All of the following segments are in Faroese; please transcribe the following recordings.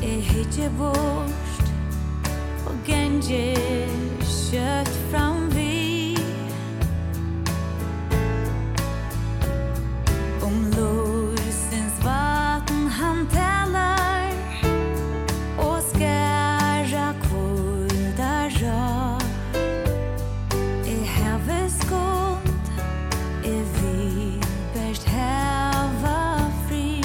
det vårst Och genge kött fram vi Om lorsens vatten han tälar Och skära kvulda rör I havets gott är vi bäst häva fri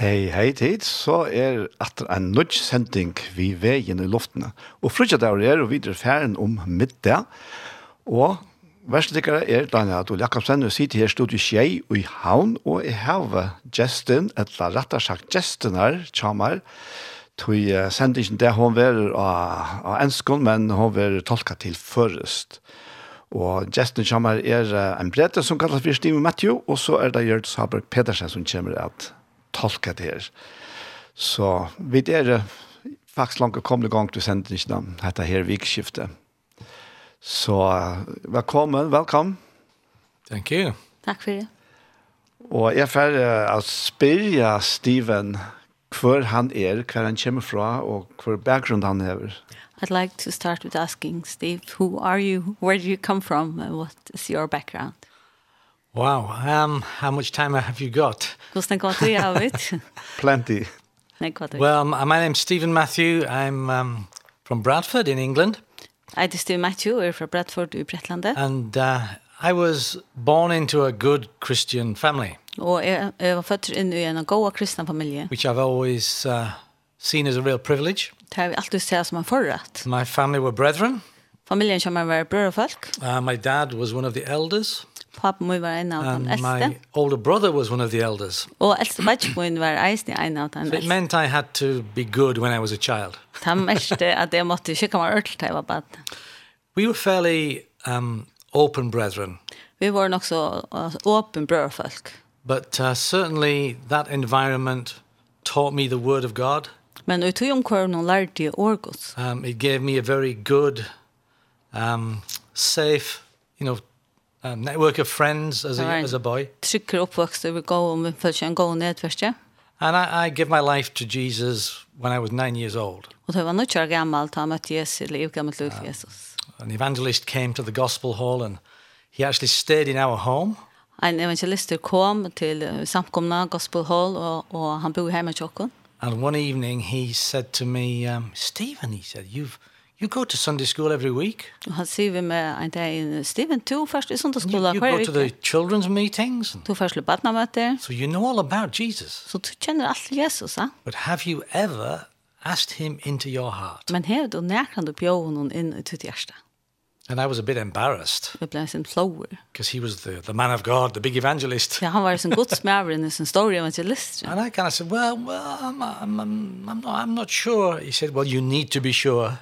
Hei, hei tid, så er atter en nødt sending vi veien i luftene. Og frutja der er og videre ferden om middag. Og verstikkere er Daniel Adol Jakobsen, og sitter her stod i Skjei og i Havn, og jeg har gesten, eller rettere sagt gesten her, Tjamar, tog eh, sendingen der hun var av, av enskånd, men hun var tolket til først. Og gesten kommer er eh, en brete som kalles for Stine Matthew, og så er det Gjørg Saberg Pedersen som kommer at tolke det her. Så vi er eh, faktisk langt kommende gang til sendingen, dette her vikskiftet. Så eh, velkommen, velkommen. Thank you. Takk for det. Og jeg får uh, spyrja Steven hvor han er, hvor han kommer fra, og hvor bakgrunn han hever. I'd like to start with asking Steve, who are you? Where do you come from? And what is your background? Wow. Um, how much time have you got? Hvordan er går du av ut? Plenty. Nei, går du? Well, m- my name's Stephen Matthew. I'm um, from Bradford in England. Jeg er Steve Matthew, er fra Bradford i Bretlandet, And uh, I was born into a good Christian family, og jeg, jeg var født inn i en god kristen familie. which I've always uh, seen as a real privilege. Det har vi alltid sett som en forrett. My family were brethren. Familien kommer å være brød og folk. Uh, my dad was one of the elders. Papen må være en av And den eldste, my older brother was one of the elders. og eldste badge må være eisen i en av den So it eldste. meant I had to be good when I was a child. Det mest at jeg måtte ikke komme ørt til jeg var bad. We were fairly um, open brethren. Vi var nok så uh, åpen brød og folk. But uh, certainly that environment taught me the word of God. Men i tog omkring noen lærte jeg årgods. Um, it gave me a very good, um, safe, you know, uh, network of friends as a, Right. as a boy. trykker oppvokst over gå om vi føler en god nedverste. And I, I give my life to Jesus when I was nine years old. Og da jeg var nødt til å gammel, da møtte Jesus, eller jeg gammelt lov Jesus. An evangelist came to the gospel hall and he actually stayed in our home. En evangelister kom til eh, samkomna Gospel Hall, og, og han bor hjemme i Tjokken. And one evening he said to me, um, Stephen, he said, you've, you go to Sunday school every week. Og han sier vi med en dag, Steven, du først i You, sundagsskolen you hver go to the uke. children's meetings. And Du først til badnamøter, so you know all about Jesus. så du kjenner alt til Jesus, ja? But have you ever asked him into your heart? Men her, du nærkant du bjør noen inn i ditt hjerte. And I was a bit embarrassed Vi ble en sin flower. because he was the, the man of God, the big evangelist. Ja, han var en sin godsmævren, en sin stor evangelist. And I kind of said, well, well I'm, I'm, I'm, I'm, not, I'm not sure. He said, well, you need to be sure.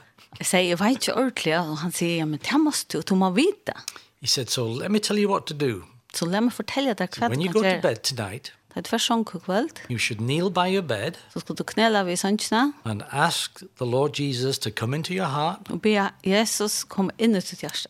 Jeg sier, jeg vet ikke ordentlig, og han sier, ja, men det må du, du må vite. He said, so let me tell you what to do. Så la meg fortelle deg hva When du you kan go to gjøre. bed tonight, Det er et første kveld, you should kneel by your bed så skal du knela ved sannsene, and ask the Lord Jesus to come into your heart og be Jesus komme inn i ditt hjerte.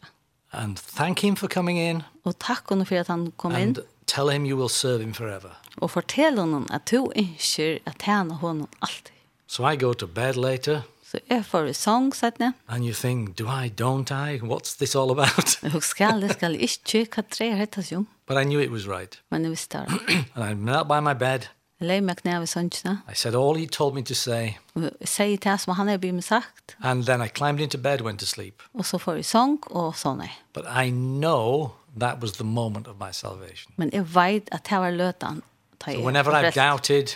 and thank him for coming in Og takk henne for at han kom inn, and tell him you will serve him forever. og fortell henne at du ønsker at tjene henne alltid. So I go to bed later Så jeg får i sang, settene. and you think, do I, don't I? What's this all about? Jeg husker skal, det skal jeg ikke, hva tre heter jo. But I knew it was right. Men jeg visste det. And I knelt by my bed. Jeg leier meg knela ved sannsene, I said all he told me to say. og jeg sier til som han har blitt med sagt, And then I climbed into bed, went to sleep. og så får jeg sang, og sånn er. But I know that was the moment of my salvation. Men jeg vet at jeg var løtene. So whenever I've doubted,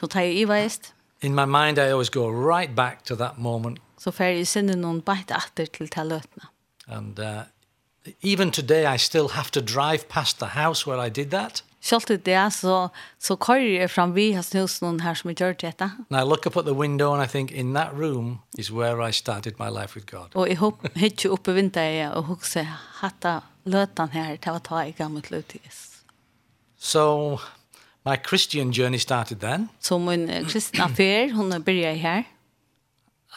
Så tar jeg i veist, in my mind, I always go right back to that moment Så fer jeg sinne noen beit atter til til løtene. And uh, even today, I still have to drive past the house where I did that. Selv til det, så, så kører jeg fram vi hans hos noen her som gjør dette. And I look up at the window and I think, in that room is where I started my life with God. Og jeg håper ikke oppe i vinteren og husker hatta løtene her til å ta i gamle løtis. So my Christian journey started then. Så min eh, kristna affær, hon er börjar här.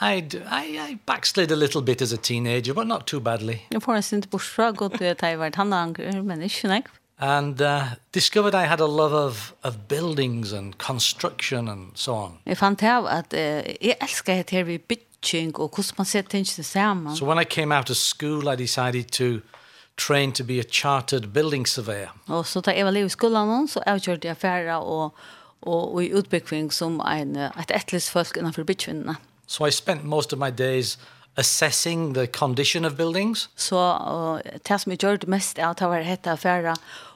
I'd, I, I backslid a little bit as a teenager, but not too badly. Jag får oss inte bort fra gott du tar vart han angrer, men ikke nek. And uh, discovered I had a love of, of buildings and construction and so on. Jeg fant av at eh, jeg elsker det her ved bytting og hvordan man ser tingene sammen. So when I came out of school, I decided to train to be a chartered building surveyor. Og så da jeg var liv i skolan, så avgjorde jeg færre og, og, og i utbygging som en, eh, et etlis folk innenfor byttingene. So I spent most of my days assessing the condition of buildings Så og, det som jeg gjorde mest er at jeg var hette affæra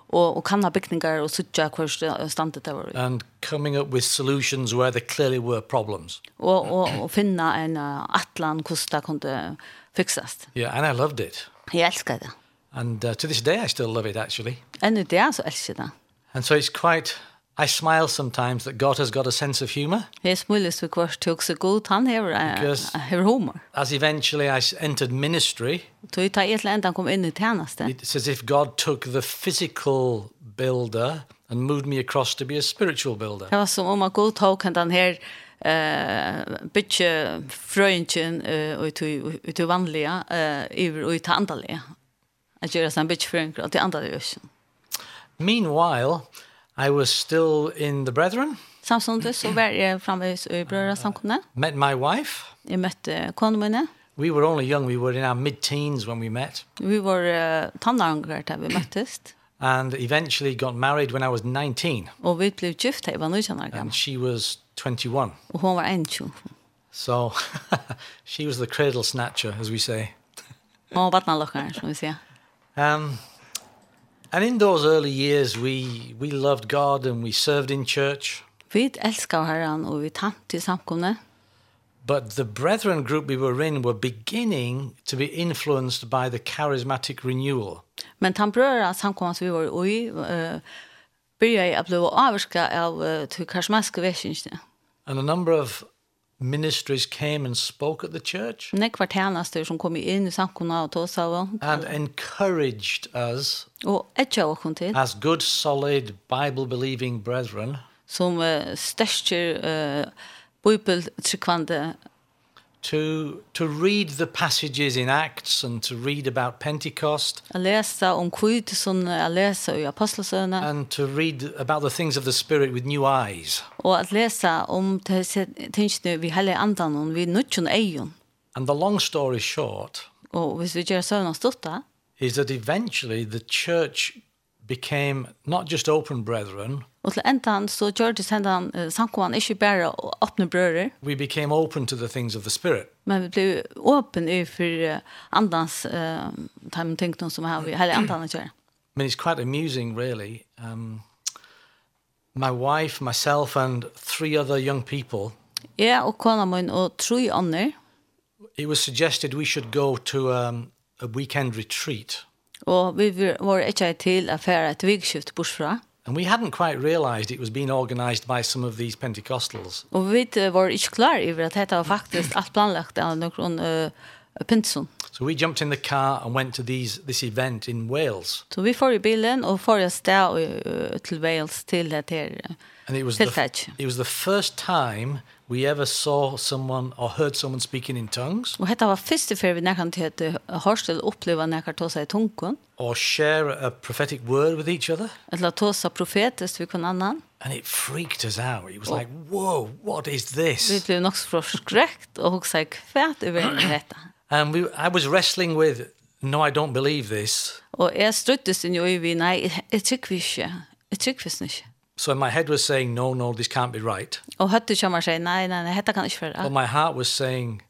og, og kanna bygninger og sutja hver st- standet det var i. and coming up with solutions where there clearly were problems. Og, og, og finna en eh, atlan hvordan det kunne fiksast. Yeah, and I loved it. Jeg elsker det. And uh, to this day, I still love it, actually. Än i det så älskar jag det. And so it's quite, I smile sometimes that God has got a sense of humor, Det är smuligt för kvart till också god. Han har eh, Because- har humor. as eventually I s- entered ministry. Då är det ett land han kom in i tjänsten. It's as if God took the physical builder and moved me across to be a spiritual builder. Det var som om man god tog kan den här eh bitche fröntjen eh och till och till vanliga eh över och till andliga. Att göra sån bitch fröntjen och till andliga. Meanwhile, I was still in the Brethren, Samtidigt så var jag framme i bröra samkomna. met my wife. Jag mötte konen min. We were only young, we were in our mid teens when we met, Vi var uh, tannangrar där vi möttes. and eventually got married when I was 19, Och vi blev gift här i Vanujan. and she was 21. Och hon var en tjur. So she was the cradle snatcher, as we say. Hon var vattnalockaren som vi säger. Um, and in those early years, we, we loved God and we served in church. Vi elskar herran og vi tant i samkomne. But the brethren group we were in were beginning to be influenced by the charismatic renewal. Men tant brøra samkomne som vi var i, uh, byrja jeg å bli avvarska av uh, til karismatiske vekkingsne. And a number of ministries came and spoke at the church Nek var tjenester som kom inn i samkomne og tås av hon, and encouraged us og etja av hon til, as good, solid, Bible believing brethren som uh, størster uh, bøybeltrykkvande to, to read the passages in Acts and to read about Pentecost å lese om kvitt som å lese i apostelsøene, and to read about the things of the Spirit with new eyes. og um å lese om tingene vi heller andan om, vi nødtjen eion. And the long story short Og hvis vi gjør søvnene stått da, is that eventually the church became not just open brethren, Og til endan så gjør det senda han uh, samkommene ikke bare å åpne brører, we became open to the things of the Spirit. men vi ble åpen i for uh, andans uh, time tenkene som har vi hele andan å gjøre. I mean, it's quite amusing, really. Um, my wife, myself, and three other young people, Jeg og kona min og tre ånder, it was suggested we should go to um, a weekend retreat. og vi var- var ikke til å fære et vikskift bortfra. And we hadn't quite realized it was being organized by some of these Pentecostals. Og vi eh, var ikke klar over at dette var faktisk alt planlagt av noen uh, pinsen. So we jumped in the car and went to these, this event in Wales. Så vi får i bilen og får et sted eh, til Wales til dette her. And it was, Till the, touch. it was the first time we ever saw someone or heard someone speaking in tongues Og dette var første før vi nærkant til at Horstel opplevde nærkant til seg i tungen. or share a prophetic word with each other. Eller at oss profetiskt vi kon annan. And it freaked us out. It was like, whoa, what is this? Vi blev nok så forskräckt och också kvärt över detta. And we, I was wrestling with, no, I don't believe this. Och jag struttes in i vi, nej, jag tycker vi inte. Jag tycker vi inte. So my head was saying, no, no, this can't be right. Och hötte kommer sig, nej, nej, nej, detta kan inte But vara. my heart was saying,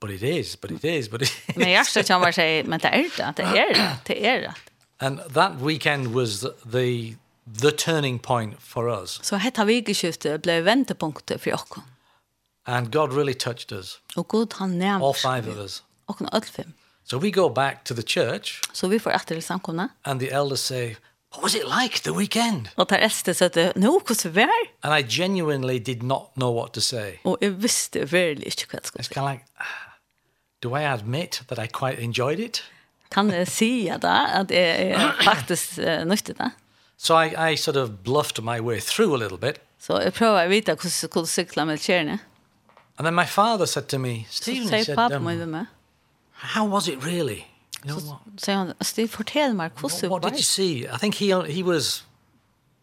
but it is, but it is, but it is. Men hjärtat kommer sig, men er det är det, det är det, det är det. And that weekend was the, the, the turning point for us. Så detta vikeskiftet blev väntepunkter för oss. And God really touched us, Og Gud han all nevnt five of us. og kun öll fem. So we go back to the church Så vi får efter til samkomna. and the elders say, what was it like the weekend? Og tar äldste så att nu hur vær? And I genuinely did not know what to say. Og jeg visste virkelig ikke hva jeg skulle It's si. kind of like, ah, do I admit that I quite enjoyed it? Kan jeg si da at jeg, jeg faktisk uh, nøyte det? So I, I sort of bluffed my way through a little bit. Så jeg prøver å vite hvordan jeg skulle sykle med kjerne. And then my father said to me, Så Stephen, he sier said, pappa um, meg ved meg. how was it really? You know, what, Så sier han, Stig, fortell meg what, hvordan what det did you see? var. I think he, he was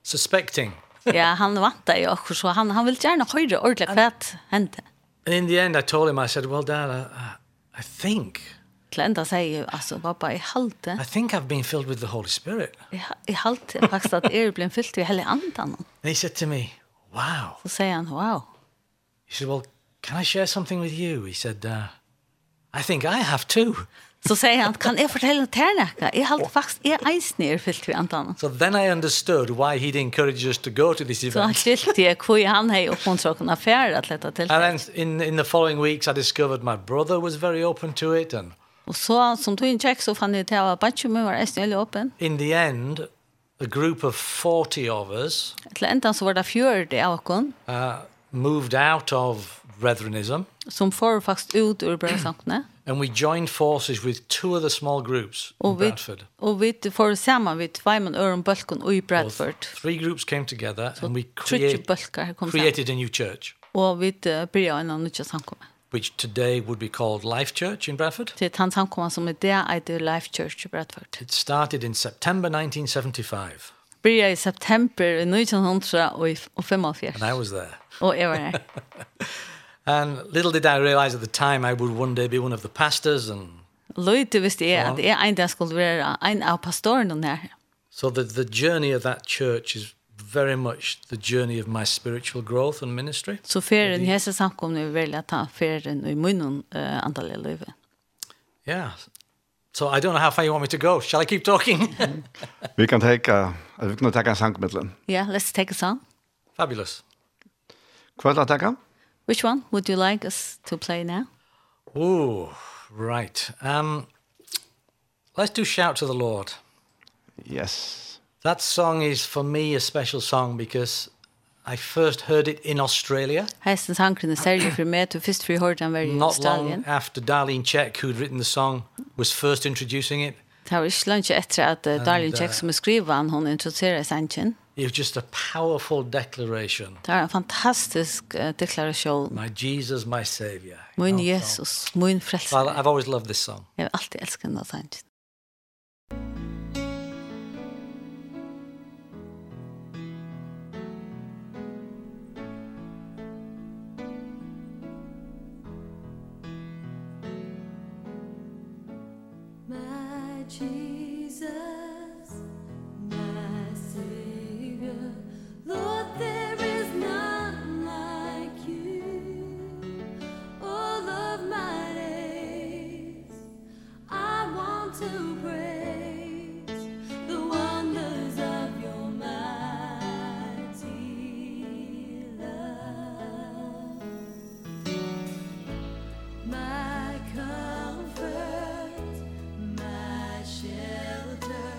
suspecting. er. Ja, han vant i akkur, så han, han vil gjerne høre ordentlig hva det hendte. And in the end, I told him, I said, well, Dad, I, I think, Til enda sier jeg, altså, pappa, jeg halte, I think I've been filled with the Holy Spirit. jeg, jeg halte faktisk at jeg ble fyllt i hele andan. And he said to me, wow. Så sier han, wow. He said, well, can I share something with you? He said, uh, I think I have too. Så sier han, kan jeg fortelle til deg? Jeg halte faktisk, jeg eisen er fyllt i andan. So then I understood why he'd encouraged us to go to this Så han event. skilte jeg hvor han hei oppmuntra å kunne fjerde til dette til. And then in, in the following weeks, I discovered my brother was very open to it. And Og så, som tog en kjekk, så fann jeg til at bare ikke mye var eisen veldig åpen. in the end, a group of 40 of us Til enda så var det fjørde av okken, uh, moved out of Brethrenism som får faktisk ut ur brevsamtene. and we joined forces with two other small groups in Og vi, Bradford. og vi får sammen vi tveimen øren bølken og i Well, th- Bradford. three groups came together and we Trutje create, bølker her kom sammen. created a new church, Og vi eh, bryr en av nødvendig samkommet. which today would be called Life Church in Bradford. Til han samkommet som er det er det Life Church i Bradford. It started in September 1975, Bryr i september i 1975. and I was there. Og jeg var her. And little did I realize at the time I would one day be one of the pastors. And Løyte visste jeg at jeg en dag skulle være en av pastorene her. so the, the journey of that church is very much the journey of my spiritual growth and ministry. Så ferien i hese samkommet er veldig at ta ferien i munnen uh, antallet løyve. Yeah. So I don't know how far you want me to go. Shall I keep talking? Vi kan teka, eller vi kan teka en sang mittlen. Ja, let's take a song. Fabulous. Hva er det teka? Which one would you like us to play now? Ooh, right. Um, let's do Shout to the Lord. Yes. That song is for me a special song because I first heard it in Australia, Hesten sangren er særlig for meg, du først for jeg hørte han være i not long Australien. after Darlene Check, who'd written the song, was first introducing it. Det var ikke langt etter at uh, Darlene And, Jack uh, som er skriver han, hun introducerer sangen. It was just a powerful declaration. Det var en fantastisk uh, deklarasjon. My Jesus, my Savior. you Min know, so- Jesus, min Well, frelser. I've always loved this song. Jeg vil alltid elske denne sangen. My Jesus, my Savior, Lord, there is none like you. All of my days, I want to praise the wonders of your mighty love. My comfort, my shelter,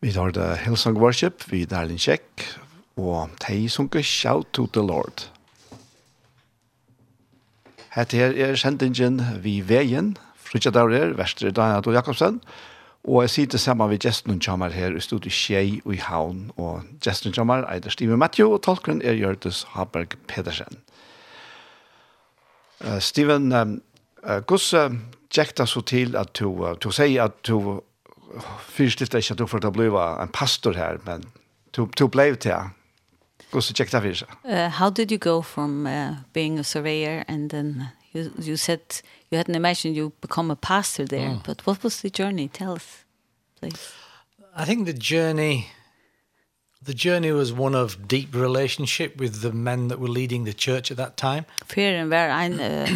Vi tar det Hillsong Worship, vi Darlin Kjekk, og de sunker Shout to the Lord. Hette her er sendingen vi veien, Frutja Daurer, Vestre Daniel Adol Jakobsen, og jeg sitter sammen med Gjesten Kjammer her i studiet Kjei og i Havn, og Gjesten Kjammer er det Steve Matthew, og tolkeren er Gjørtes Haberg Pedersen. Uh, Steven, um, uh, hvordan tjekta så til at du, uh, du sier at du fyrstifta ikke at du får til å bli en pastor her, men du, du ble til det. Hvordan tjekta fyrir seg? Uh, how did you go from uh, being a surveyor and then you, you said you hadn't imagined you become a pastor there, Mm. but what was the journey? Tell us, please. I think the journey the journey was one of deep relationship with the men that were leading the church at that time. Feren var en, uh,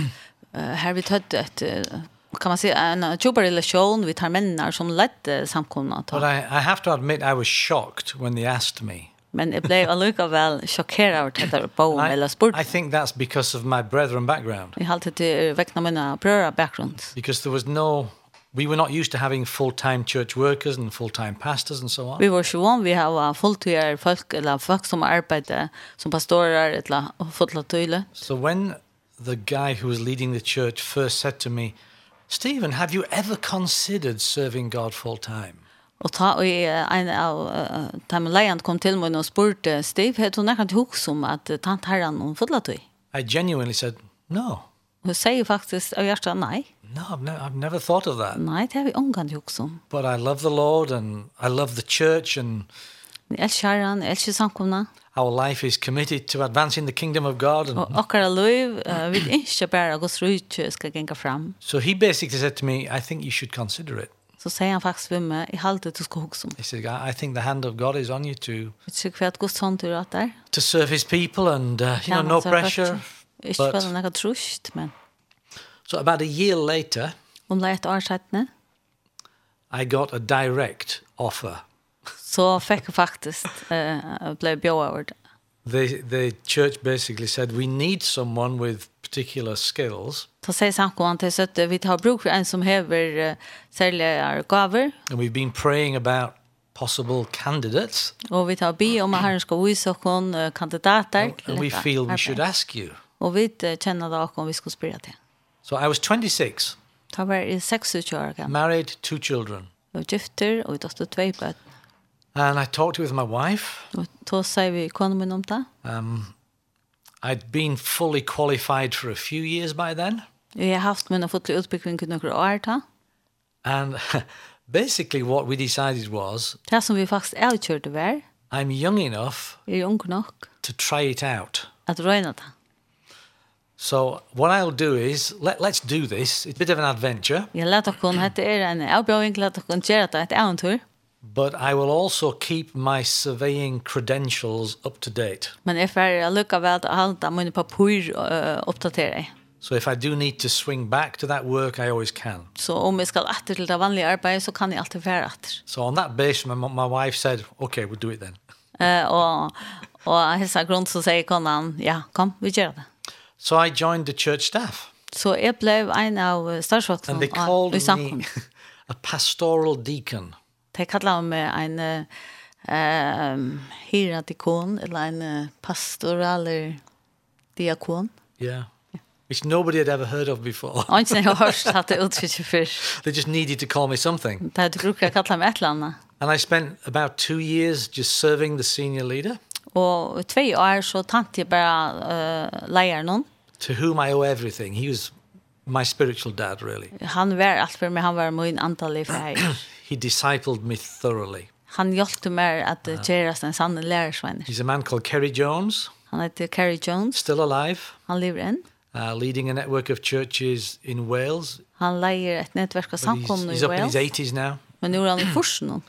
uh, her vi tøtt et, uh, kan man si, en uh, tjoba relasjon, vi tar mennene som eh, ledde samkomna. But I, I have to admit I was shocked when they asked me. Men jeg ble allikevel sjokkeret over dette boen, I, eller spurt. I think that's because of my brethren background. Jeg halte til vekna mine brøra bakgrunn. Because there was no we were not used to having full-time church workers and full-time pastors and so on. Vi var 21, vi har fulltøyere folk, eller folk som arbeider som pastorer, eller fotla tøyle. So when the guy who was leading the church first said to me, "Stephen, have you ever considered serving God full-time?" Og ta og jeg, eh, en av uh, dem leiant kom til meg og spurte, Steve, het hun ekkert hoks om at eh, tant herran hun fotla tøy? I genuinely said, "No. Hun sier faktisk av hjertet, nei, No, I've, ne- I've never thought of that. nei, det har vi um. omgang hoks om. But I love the Lord and I love the church and Jeg elsker herran, jeg elsker samkomna, our life is committed to advancing the kingdom of God." And og akkara løyv, uh, vi ikke bare gos rujtje skal genga fram. so he basically said to me, "I think you should consider it." Så sier han faktisk ved meg, jeg halte du skal hoks om. He said, "I I think the hand of God is on you to Vet ikke hva at gos sånn du rett der? to serve His people and uh, you know, no pressure." Ikke but- bare noe trusht, men um So about a year later, omlai et år sættene, I got a direct offer. så fikk jeg faktisk, uh, ble bjøy over det. The the church basically said we need someone with particular skills, Ta seg samkommande til søtt, vi tar bruk for en som hever uh, særlige gaver, and we've been praying about possible candidates, og vi tar bi om at um herren skal vise oss uh, kandidater. til and we dette feel we arbeid. should ask you. Og vi uh, kjenner da oss om vi skal spille til. So I was 26, Ta var i 26 år gammel, married, two children, og gifter, og vi tar tvei bøtt. and I talked with my wife. Og ta sier vi kone min om det. Um, I'd been fully qualified for a few years by then, Jeg har haft min fotlig utbygging i noen år da. and basically what we decided was Det som vi faktisk avkjørte var, I'm young enough er ung nok to try it out. at røyne det. So what I'll do is let let's do this. It's a bit of an adventure, Jeg lette oss, dette er en avbjøring, lette oss gjøre det et eventyr. but I will also keep my surveying credentials up to date. Men jeg får lukka til å halda mine papur uh, oppdatere. So if I do need to swing back to that work, I always can. Så om jeg um skal atter til det vanlige arbeidet, så kan jeg alltid være atter. So on that basis, my, my wife said, "Okay, we'll do it then." Uh, og, og av hessa grunn så sier konan, ja, kom, vi gjør det. So I joined the church staff, Så jeg ble and en av Oh, they starsvaktene called i me samkommet. a pastoral deacon. De kallet meg en uh, hiradikon, eller en eh, pastoral diakon. Yeah. Oh. Which nobody had ever heard of before. Og ikke når jeg har hørt at det uttrykket før. They just needed to call me something. Det er du bruker å kalle meg et eller annet. And I spent about two years just serving the senior leader, Og i tvei år så tante jeg bare uh, leier noen. to whom I owe everything. He was my spiritual dad, really. Han var allt för mig, han var min antallig färg. He discipled me thoroughly. Han hjälpte mig att uh, göras en sann lärarsvänner. He's a man called Kerry Jones, Han heter Carrie Jones, still alive, han lever än. uh, leading a network of churches in Wales. Han leier ett nätverk But av He's, samkomna he's i up in his Wales. 80s now. Men er nu är han i Forsen.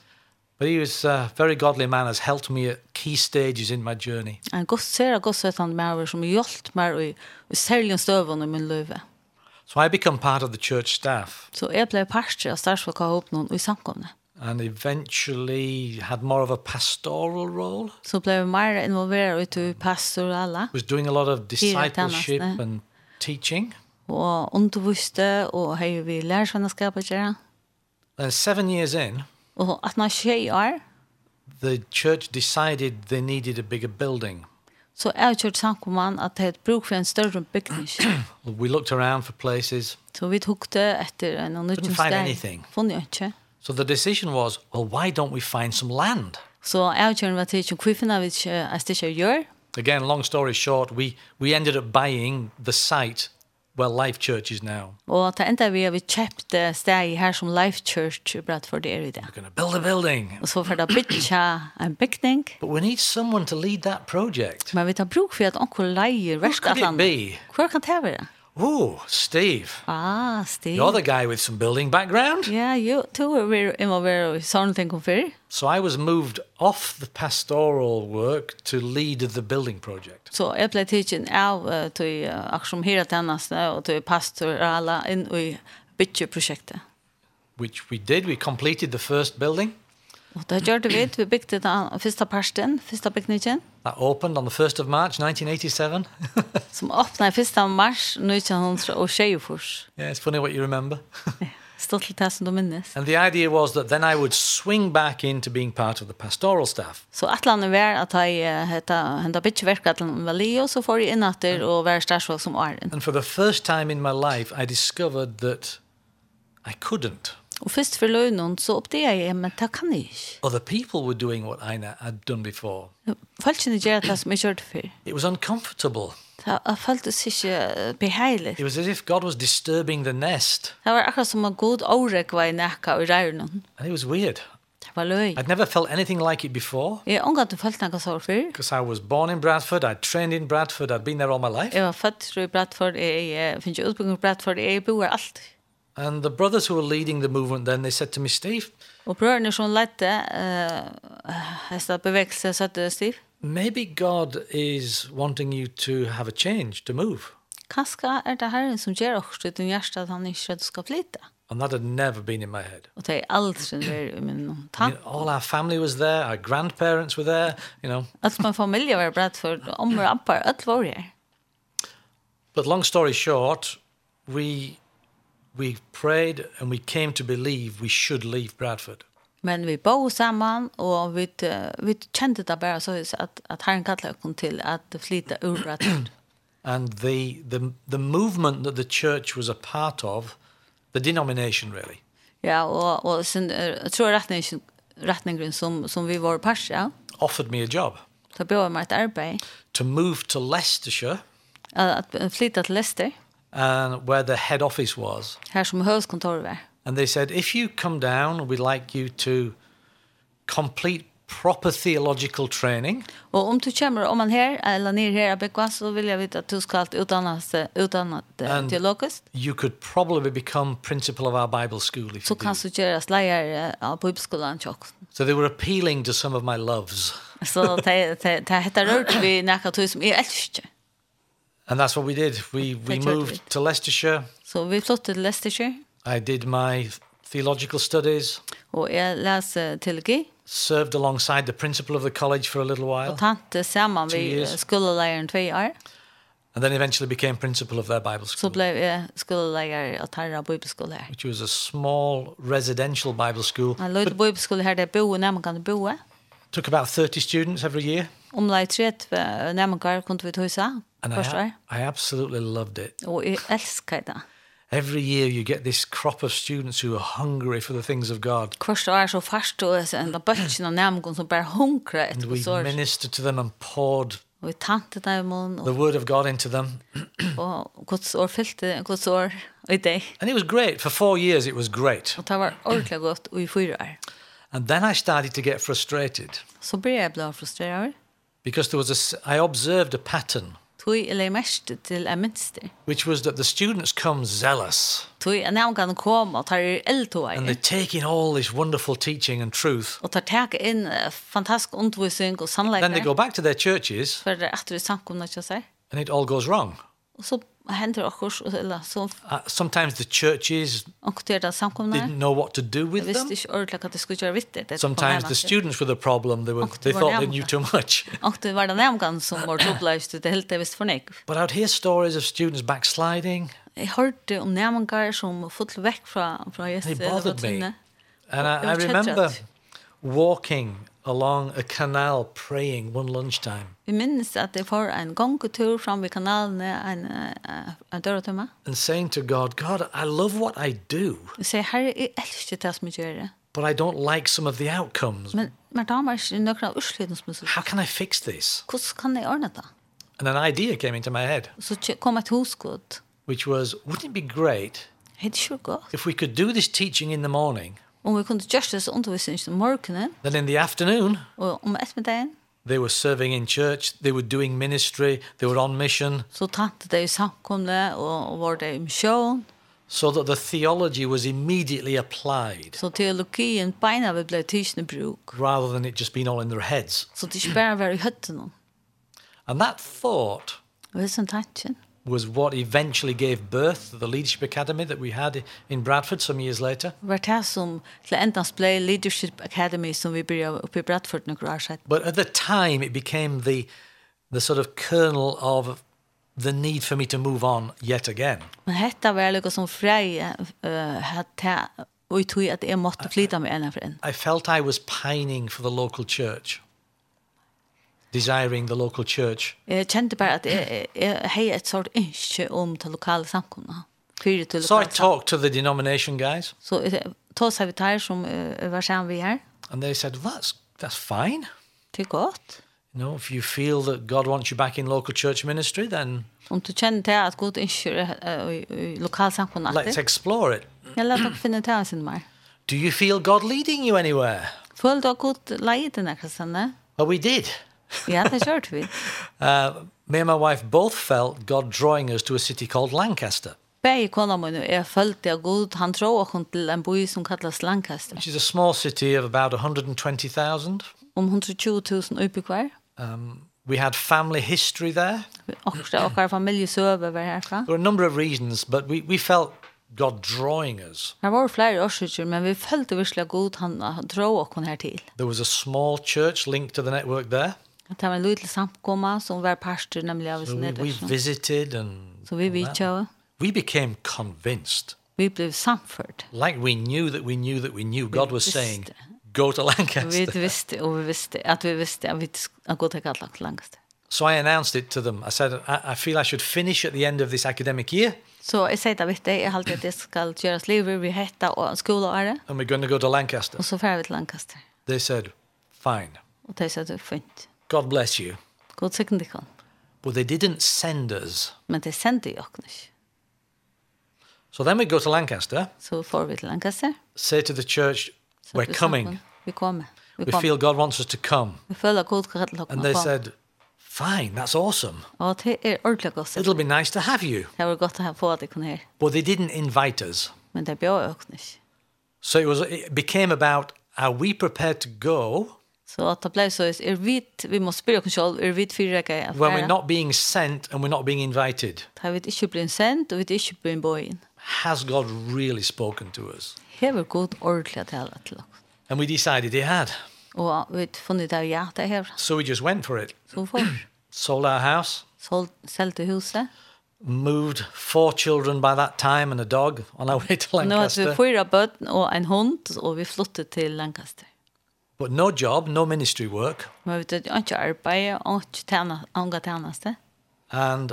But he was a very godly man, has helped me at key stages in my journey. Han gossera gossvetande med över som hjälpt mig i, i särligen stöven i min löve. So I become part of the church staff Så jag blev parster av startsfolk av ihop någon i samkomna. and eventually had more of a pastoral role. Så blev jag mer involverad ute i pastor och alla. Was doing a lot of discipleship eh? and teaching. Och underviste och hej vi lärarsvännerskap att göra. And seven years in, Och att när tjej är, the church decided they needed a bigger building. Så er kjørt samkomman at det er bruk for en større bygning. We looked around for places. så vi hukte etter en og Couldn't nødvendig find sted. anything. Funnet jeg ikke. So the decision was, well, why don't we find some land? Så er kjørt var til ikke kviffen av ikke jeg stedet jeg gjør. Again, long story short, we, we ended up buying the site where Life Church is now. Og at det enda vi har vi kjøpt sted her som Life Church bratt for det er i det. We're going to build a building. Og så får det bytja en bygning. But we need someone to lead that project. Men vi tar bruk for at onkur leier could it verskatland. be? Hvor kan det være? Ooh, Steve, Ah, Stig. you're the guy with some building background. Ja, jo, to er vi involveret i sånne ting om før. So I was moved off the pastoral work to lead the building project. Så jeg ble tidsen av eh, til uh, aksjon her tjeneste og til pastorala inn i bytjeprosjektet. which we did. We completed the first building. Og det gjør det vi, vi bygde den første parsten, første bygningen, That opened on the 1st of March 1987. som åpnet 1. mars 1924. yeah, it's funny what you remember. Stått til det som du minnes. and the idea was that then I would swing back into being part of the pastoral staff. Så atlandet var at jeg eh, hette hendet bytjeverket til en vali, og så får jeg inn etter og være størsmål som åren. And for the first time in my life, I discovered that I couldn't. Og først for løgnen så oppdager jeg, men det kan jeg ikke. Other people were doing what I na- had done before. Folkene gjør det som jeg gjør det før. It was uncomfortable. Det det føltes ikke eh, beheilig. It was as if God was disturbing the nest. Det var akkurat som en god årek var i nekka og røyren. And it was weird. Det var løy. I'd never felt anything like it before Jeg har omgått følt nekka sår før. because I was born in Bradford. I trained in Bradford. I'd been there all my life. Jeg var født i Bradford, eh, jeg, jeg finner ikke utbygging i Bradford, jeg bor alt. And the brothers who were leading the movement then, they said to me, Steve, Og brødrene som lette uh, hesta bevegelse søtte stiv. maybe God is wanting you to have a change, to move. Kanskje er det herren som gjør også i din hjerte at han ikke du skal flytte. And that had never been in my head. Og det er aldri vært i min I tank. mean, all our family was there, our grandparents were there, you know. Alt min familie var i Bradford, og ommer og appar, er. alt var her. But long story short, we we prayed and we came to believe we should leave Bradford. Men vi bo sammen, og vi, eh, vi kjente det bare så at, at herren kallet kom til at flytta ur Bradford. And the, the the movement that the church was a part of, the denomination really, ja, og, og sin, eh, jeg tror retning, retningen som, som vi var pers, ja. offered me a job Da bjør meg et arbeid. to move to Leicestershire, At, at flytta til Leicester, and where the head office was. her som høvskontoret var. And they said, if you come down, we'd like you to complete proper theological training Og om du kommer, om man her, eller ned her er Bekva, så vil jeg vite at du skal utdannes, utdannet And- teologisk. you could probably become principal of our Bible school. If Så you kan do. du gjøres leier av bibelskolen tjokken. so they were appealing to some of my loves. Så det det det heter rört vi näka tog som är älskar. And that's what we did. We, we That's moved right. to Leicestershire. Så vi flyttade till Leicestershire I did my theological studies, och jag läste teologi served alongside the principal of the college for a little och while, tante samman Two vi years. skoleläraren två år. and then eventually became principal of their Bible Så school, blev jag skolelärare att här bibelskola här. which was a small residential Bible school. Han låg bibelskola här där bo när man kan bo. Took about 30 students every year. Om lite tret när man kan kunde vi ta husa And första år. I, I absolutely loved it. Och jag älskar det. Every year you get this crop of students who are hungry for the things of God. Första år er så fast och sen den böckerna när man kan som bara hunkra And ett och we så. ministered to them and poured Och vi tante där i mån the word of God into them. og Guds år fylte Guds år i dag. And it was great. For four years, it was great. Og det var ordentlig godt og i fyra år. And then I started to get frustrated Så ble jeg blå frustreret over. because there was a, s- I observed a pattern, Tog jeg legg er mest til en minster. which was that the students come zealous Tog jeg nærmere kom er og tar i and eldtøy. they take in all this wonderful teaching and truth. Og tar tak inn eh, fantastisk undervisning og Then they go sannleggere. back to their churches For det er etter i samkomne ikke seg. and it all goes wrong. Og så hender det akkurat, eller så Uh, sometimes the churches omkter det samkomne. didn't know what to do Jeg with them. visste ikke ordentlig hva det skulle gjøre vitt. Det kom Sometimes nærmere the til. students were the problem. They, were, Och det they var thought they nämnt. knew too much. Og det var det nærmere som var toppløst. Det helt jeg visste for nek. But I'd hear stories of students backsliding, Jeg hørte om nærmere som fått vekk fra, fra They gjestet. bothered me. and it I, I was remember headshots. walking along a canal praying one lunchtime Vi minnes at det var en gongetur fram ved kanalene, en, eh, en døretømme. and saying to God, God, I love what I do, Vi sier, herre, jeg elsker det som jeg gjør det. but I don't like some of the outcomes. Men, men da var ikke noen av utsliden som jeg sier, How can I fix this? hvordan kan jeg ordne det? And an idea came into my head, Så kje- kom et hosgod. which was, wouldn't it be great Er det ikke godt? if we could do this teaching in the morning, Om vi kunne gjøre disse undervisninger om morgenen, then in the afternoon, og um om ettermiddagen, they were serving in church, they were doing ministry, they were on mission, så tante det i samkomne, og, og var det i misjon, so that the theology was immediately applied så teologien beina vi ble tysene bruk. rather than it just being all in their heads. Så det ikke bare var i høttene. And that thought Og det er sånn tanken. was what eventually gave birth to the Leadership Academy that we had in Bradford some years later. Det var det som til endans ble Leadership Academy som vi begynte oppe i Bradford noen år siden. But at the time, it became the, the sort of kernel of the need for me to move on yet again. Men dette var noe som freie uh, at jeg, og jeg tog at jeg måtte flytte med en for en. I felt I was pining for the local church, desiring the local church. Jeg kjente bare at jeg, jeg heier et sort um ønske om til lokale samkomne. Fyre til So I lokale samkomne. talked to the denomination guys, Så jeg tog seg vi tar som eh, var sammen vi her. and they said, well, that's, that's fine. Det er godt. You know, if you feel that God wants you back in local church ministry, then Om du kjenner til at god ønsker eh, i, i lokale samkomne. let's explore it. Jeg lærte dere finne til hans mer. Do you feel God leading you anywhere? Føler du at god leie til denne kristne? Well, we did. Ja, det kjørte vi. Uh, me and my wife both felt God drawing us to a city called Lancaster, Begge kona min og jeg følte av god, han tror åkken til en by som kallas Lancaster. which is a small city of about 120,000. Om 120 000 utbyggvar. Um, we had family history there. Akkurat okkar familjesøve var herfra. There were a number of reasons, but we, we felt God drawing us. Her var flere årsøkjer, men vi følte virkelig av god, han, han tror åkken her til. There was a small church linked to the network there. At det var en lydelig samkomma som var parster, nemlig av So sin we, we nedersen. visited and Så vi vidtjøve. we became convinced, Vi ble samført. like we knew that we knew that we knew God was saying, visste. go to Vi Lancaster. visste, og vi visste, at vi visste at vi sk- at god har kallat langast. So I announced it to them. I said, I, I feel I should finish at the end of this academic year Så jeg sier det vitt, jeg har alltid at det skal gjøres livet, vi hette og skoleåret, and we're going to go to Lancaster. og så fer vi til Lancaster. They said, fine, Og det sier det er fint. God bless you. God sikken det kan. But they didn't send us. Men det sendte jo ikke. So then we go to Lancaster, Så får vi til Lancaster. say to the church, Så we're vi snakker coming. om- Vi kommer. Vi We kommer. feel God wants us to come. Vi føler at god kan lukke And meg they på. said, fine, that's awesome. Og det er ordentlig godt. It'll be nice to have you. Det var godt å ha på at jeg kunne her. But they didn't invite us. Men det bjør jo ikke. So it was it became about are we prepared to go Så at det ble så, er vi, vi må spørre oss selv, er vi fire ikke jeg when we're not being sent and we're not being invited? Da vi ikke blir sendt, og vi ikke blir bøyen. Has God really spoken to us? Her var god ordentlig å tale til oss. And we decided he had. Og vi funnet det ja, det her. So we just went for it. Så får vi Sold our house, solgt, selgte huset. moved four children by that time and a dog on our way to Nå hadde vi Lancaster. fyra bøtten og en hund, og vi flyttet til Lancaster. But no job, no ministry work. Men vi vet ikke arbeid, ikke tjene, anga tjeneste. And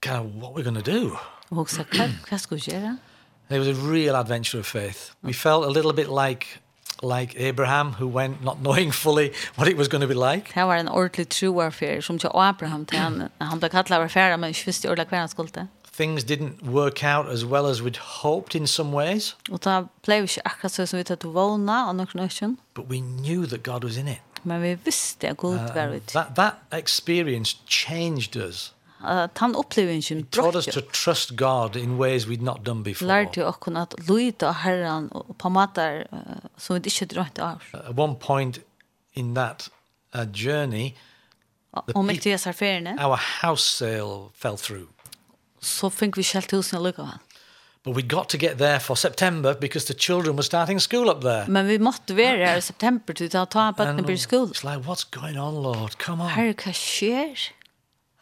kind of what we're going to do. Og hun sa, hva, hva skal vi gjøre? It was a real adventure of faith. We felt a little bit like like Abraham who went not knowing fully what it was going to be like. Det var en ordentlig troarfer, som til Abraham, til han, han ble kallet av affæra, men ikke visste ordentlig hva han skulle til. Things didn't work out as well as we'd hoped in some ways, Og da ble vi ikke akkurat så som vi tatt vågna av noen økken, but we knew that God was in it. men vi visste at Gud var And ut. that that experience changed us. At han opplevingen Taught us brått to jo. trust God in ways we'd not done before. Lærte jo okken at lyde av herren og på mater eh, som vi ikke drømte av. At one point in that uh, journey, Og mitt i disse affærene, our house sale fell through. så fikk vi kjelt husen og lukket han. But we got to get there for September because the children were starting school up there. Men vi måtte være her i september til å ta bøttene på skolen. It's like, what's going on, Lord? Come on. Herre, hva skjer?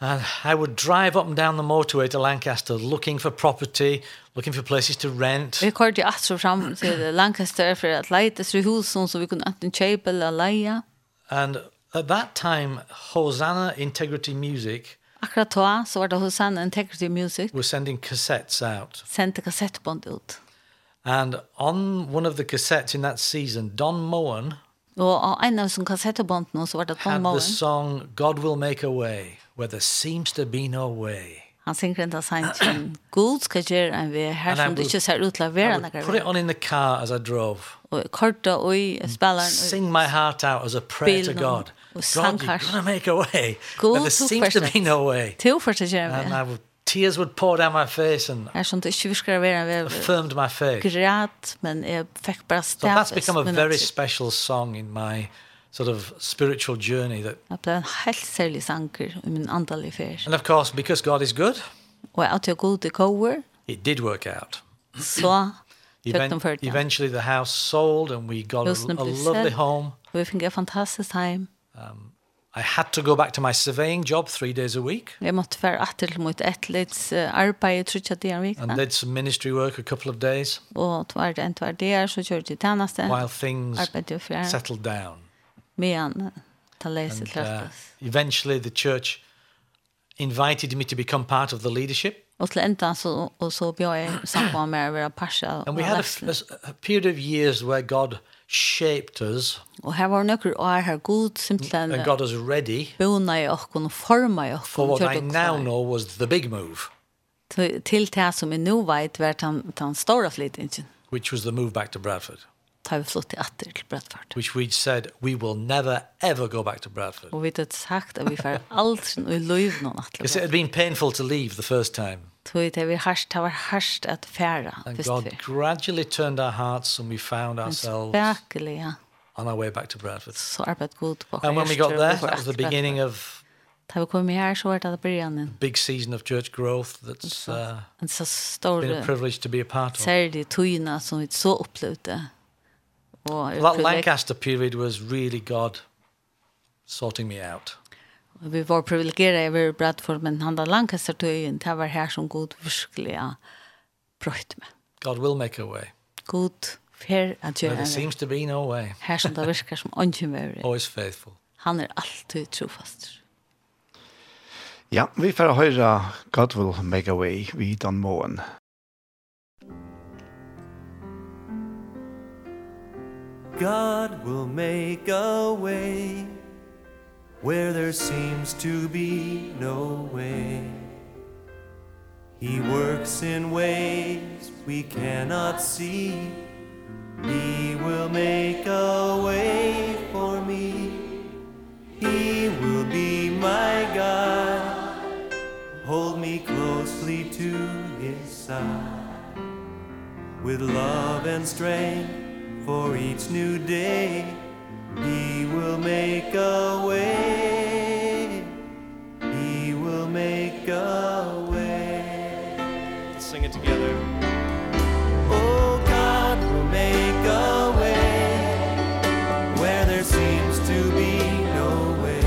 And I would drive up and down the motorway to Lancaster looking for property, looking for places to rent. Vi kørte jo alt så fram til Lancaster for at leite i husen som vi kunne enten kjøpe eller leie. And at that time, Hosanna Integrity Music Akkurat da så var det hos han Integrity Music were sending cassettes out. sendte kassettbånd ut. And on one of the cassettes in that season, Don Moen Og av en av sånne kassettbåndene så var det Tom had the Mowen. song God Will Make a Way, where there seems to be no way. Han synger enda sangen God skal gjøre en vei her And I som du would- ikke ser ut til å I være would noen put it vei. on in the car as I drove. Og kortet og i spilleren. Sing my heart out as a prayer to Bilen God. og God, you're sangkars. going to make a way. God But there tok seems to be først. no way. Til for seg gjøre en And vei. I would, tears would pour down my face and Her som du ikke virker å være en vei. affirmed my faith. Græt, men jeg fikk bare So that's stafis. become a men very at- special song in my sort of spiritual journey. That, Det ble en helt særlig sanger i min andalige fer. and of course, because God is good, Og jeg alltid god i kover, it did work out. så fikk de Even- ført den. eventually, the house sold, and we got a, Husen a blev lovely såld. home. Og vi fikk et fantastisk heim. I had to go back to my surveying job three days a week Jeg måtte være atter til mot etterlits arbeid, jeg tror ikke at det er en and vikna. did some ministry work a couple of days Og tvær det enn tvær det er, så kjørte jeg tjeneste. while things Arbeidde jo fjær, settled down. men ta lese And, uh, kraftes. eventually, the church invited me to become part of the leadership. Og til enda så, og så bjør jeg sammen med å være parsa. And Og, we had a f- a leisel. s- a period of years where God shaped us og her var nøkker år her god, simpelthen and got us ready bona i okken og forma i okken. for what I gjorde now klar. know was the big move, Til- Til det som jeg nå vet, var den, den store flytingen. which was the move back to Bradford, Ta vi flott til atter til Bradford. which we'd said we will never ever go back to Bradford. Og vi hadde sagt at vi får aldri i løyv noen atter. Because it had been painful to leave the first time. Tog det vi harst, det var harst at færa, And visst God vi. gradually turned our hearts and we found Men ourselves spekelig, ja. on our way back to Bradford. Så arbeid god på And when we got there, that was the beginning of Da vi kom her, så var det begynnelsen. big season of church growth that's uh, En så been a stor, privilege to be a part of. særlig tøyene som vi så opplevde. Og et That privilegium- Lancaster period was really God sorting me out. vi var privilegierade över Bradford men han där Lancaster tøyen, det var här som god virkelig har brøtt med. God will make a way. God fer at Where gjøre there det. seems Oh. to be no way. Her som det virker som ånden med Always faithful. Han er alltid trofast. Ja, vi får høre God Will Make a Way vi Don Moen. God will make a way where there seems to be no way. He works in ways we cannot see. He will make a way for me. He will be my God. Hold me closely to his side with love and strength for each new day he will make a way he will make a way let's sing it together oh god will make a way where there seems to be no way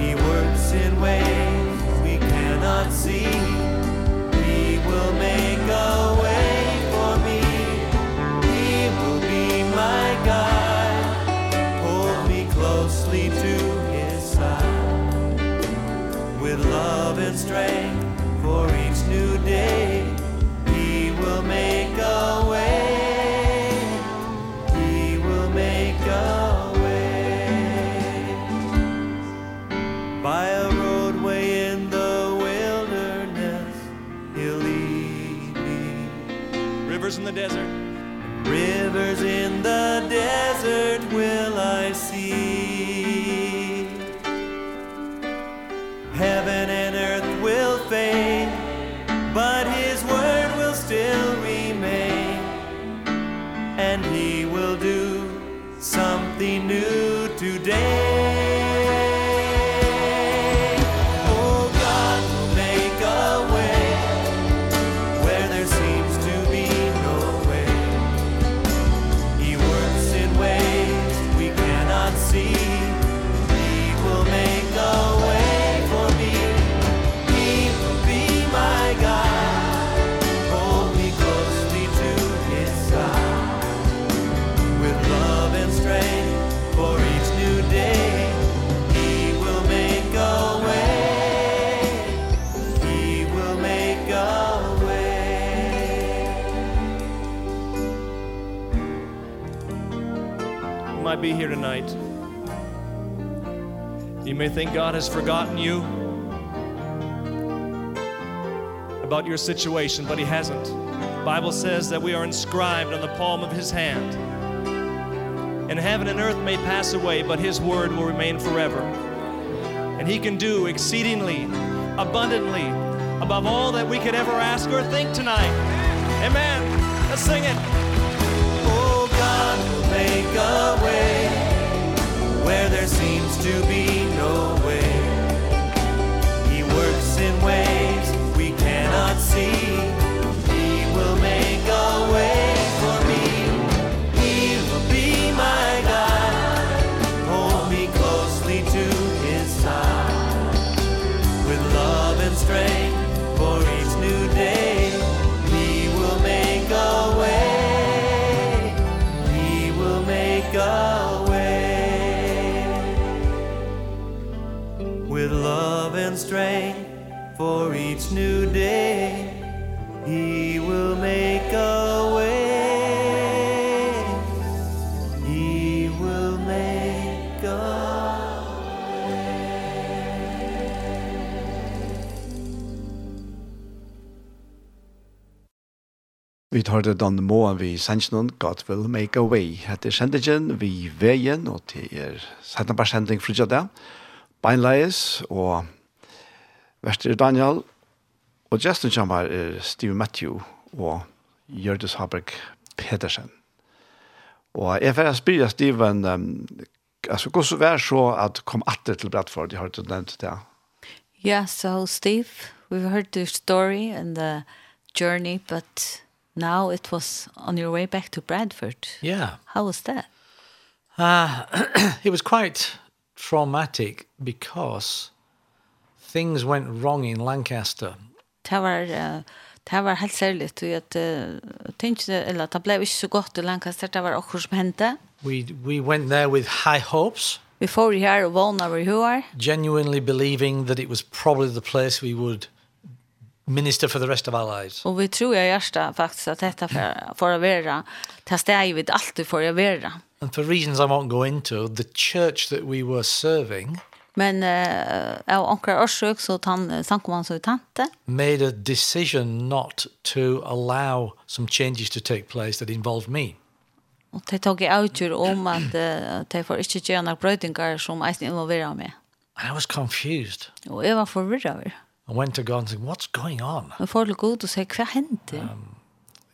he works in ways we cannot see he will make a way for me. He will be my guide. Hold me closely to his side. With love and strength for each new day, he will make a way. He will make a way by a roadway in the wilderness he'll lead me rivers in the desert rivers in the desert will i see heaven and earth will fade but his word will still remain and he will do something new today. Oh, God will make a way where there seems to be no way. He works in ways we cannot see. He will make a way not be here tonight. You may think God has forgotten you about your situation, but he hasn't. The Bible says that we are inscribed on the palm of his hand. And heaven and earth may pass away, but his word will remain forever. And he can do exceedingly, abundantly, above all that we could ever ask or think tonight. Amen. Let's sing it. Oh God, make a way where there seems to be no way. He works in ways we cannot see. He will make a way for me. He will be my God. Hold me closely to his side with love and strength for each new day. He will make a way. He will make a way with love and strength for each new day. He will make a way. He will make a way. Vi tar det denne måten vi sender noen, God will make a way. er Hette sendingen vi veien, og til er sendingen bare sending fra det. Beinleis, og verster er Daniel, og gesten kommer er Steve Matthew og Gjørdis Haberg Pedersen. Og jeg får spyrja Steven, um, altså hvordan var det så at kom atter til Bradford, jeg har ikke nevnt det. Yeah, so Steve, we've heard the story and the journey, but now it was on your way back to Bradford. Yeah. How was that? Uh, it was quite traumatic because things went wrong in Lancaster. Det var eh, det var helt særligt tog at tänkte eller det blev inte så gott i Lancaster det var också som hände. We, we went there with high hopes, Vi får ju här och vana över hur är. genuinely believing that it was probably the place we would minister for the rest of our lives. Och vi tror jag hjärsta faktiskt att detta för, för att vara det steg vi alltid får att vara. And for reasons I won't go into, the church that we were serving Men eh av onkar orsök eh, så tant sankoman så tante. made a decision not to allow some changes to take place that involved me. Och det tog jag ut om att uh, det får inte göra några brödingar som eisen involverar mig. And I was confused. Och jag var förvirrad. över. I went to God and said, What's going on? Men får det god och säga, vad händer?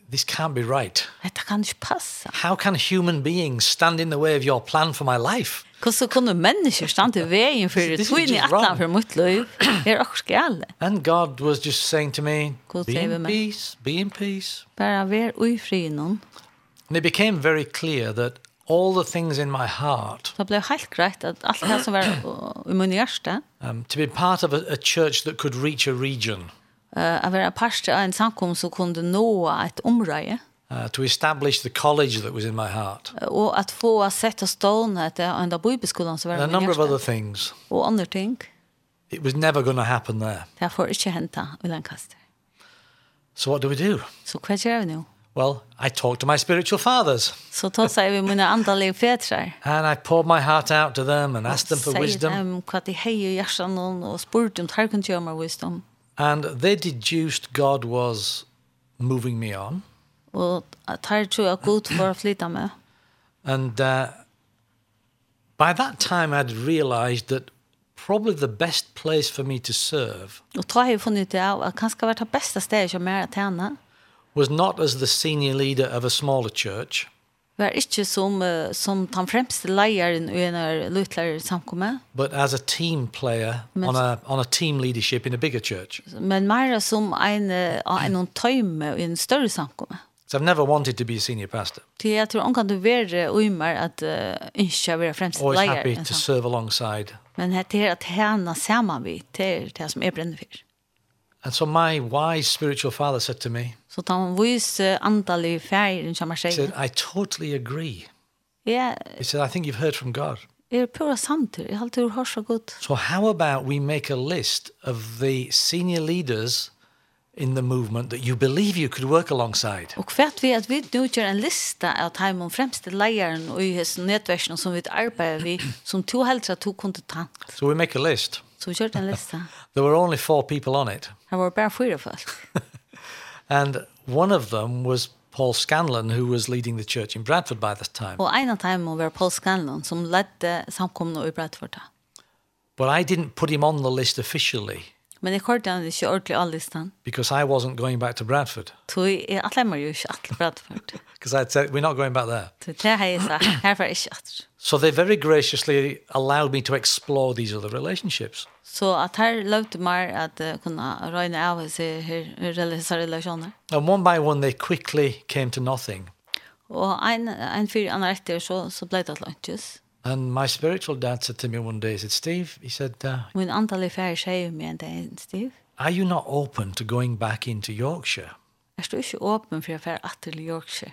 This can't be right. Detta kan inte passa. How can human beings stand in the way of your plan for my life? Hur så kunde människor stanna i vägen för This is två in i just wrong. attan för mitt liv? Det är också galet. And God was just saying to me, God Be save in me. peace, be in peace. Bara vara i fri någon. And it became very clear that all the things in my heart, Det blev helt grejt att allt det här som var uh, i min hjärsta, um, to be part of a, a church that could reach a region, uh, att vara parst av en samkom som kunde nå ett område uh, to establish the college that was in my heart, uh, och att få sätta stående att det är enda bibelskolan som var and a i min number of other hjärsta. things. Och andra ting, It was never going to happen there. det här får inte hända i Lancaster. So what do we do? Så vad gör vi nu? Well, I talked to my spiritual fathers Så då säger vi mina andaliga fädrar. and I poured my heart out to them and asked them for Säger wisdom. dem vad de hejer i hjärtan någon och spurt om tar kunde göra mer wisdom. And they deduced God was moving me on. Och tar tror jag god för att flytta med. And uh, by that time, I'd realized that probably the best place for me to serve Och då har jag funnit det av att kanske vart det bästa stedet som är att tjäna. was not as the senior leader of a smaller church, Var inte som, eh, som den främste lejaren i en av lutlare samkommet, but as a team player Men- on a, on a team leadership in a bigger church. men mer som en, eh, av en någon töjme i en större samkommet. So I've never wanted to be a senior pastor. Till jag tror hon kan du vara uimar att uh, inte vara främst Always lejare. happy i en to sam- serve alongside. Men er det här att tjäna samman vid, det är det som jag bränner för. And so my wise spiritual father said to me, Så de vise antallet färger som man he said, säger. I totally agree. Jag He said, I think you've heard from God. är pura samtidigt. Jag har alltid hört så gott. So how about we make a list of the senior leaders in the movement that you believe you could work alongside. Og hvert vi at vi nu gjør en lista av Taimon fremste leieren og i hans nettversen som vi arbeider vi, som to helst at to kunne ta. So we make a list. Så vi gjør en lista. There were only four people on it. Her var bare fyra folk. And one of them was Paul Scanlon, who was leading the church in Bradford by this time. Og en av Taimon var Paul Scanlon som ledde samkomne i Bradford. But I didn't put him on the list officially Men jeg hørte han ikke ordentlig av listan. because I wasn't going back to Bradford. Så jeg atlemmer jo ikke atle Bradford. Because I'd said, we're not going back there. Så det har jeg sagt, her var jeg ikke atle. So they very graciously allowed me to explore these other relationships. Så at her løpte meg at uh, kunne røyne av seg her religiøse relasjoner. And one by one, they quickly came to nothing. Og en, en fyr annen etter så, så ble det lønnes. And my spiritual dad said to me one day, he said, Steve, he said, uh, Min er antallig færre sier med en dag, Stiv. are you not open to going back into Yorkshire? Jeg står ikke åpen for å færre atter til Yorkshire.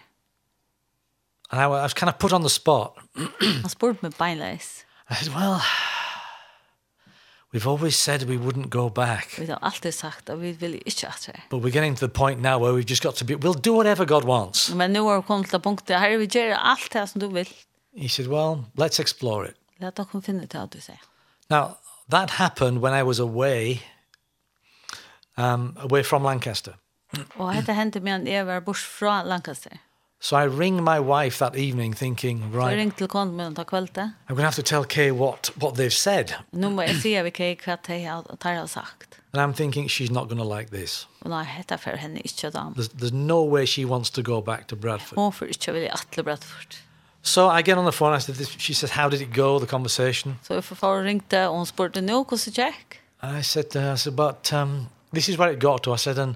And I wa- I was kind of put on the spot. Han spurte meg beinleis. I said, well, we've always said we wouldn't go back. Vi har alltid sagt at vi vil ikke atter. But we're getting to the point now where we've just got to be, we'll do whatever God wants. Men nå har vi kommet til punktet, her vi gjør alt det som du vil. He said, well, let's explore it. La dere finne til hva du sier. Now, that happened when I was away, um, away from Lancaster. Og dette hendte medan jeg var bort fra Lancaster. So I ring my wife that evening thinking, Så jeg right, ringte til konen min og takk kveldet. I'm going to have to tell Kay what, what they've said. Nå må jeg si at vi kan hva de har de har sagt. And I'm thinking, she's not going to like this. Og nei, dette for henne ikke da. There's, there's no way she wants to go back to Bradford. Hun får ikke vilja atle Bradford. So I get on the phone. I said, this, she says, how did it go, the conversation? Så jeg får få ringte, og hun spurte nå hvordan det gikk. I said, uh, I said, but um, this is where it got to. I said, and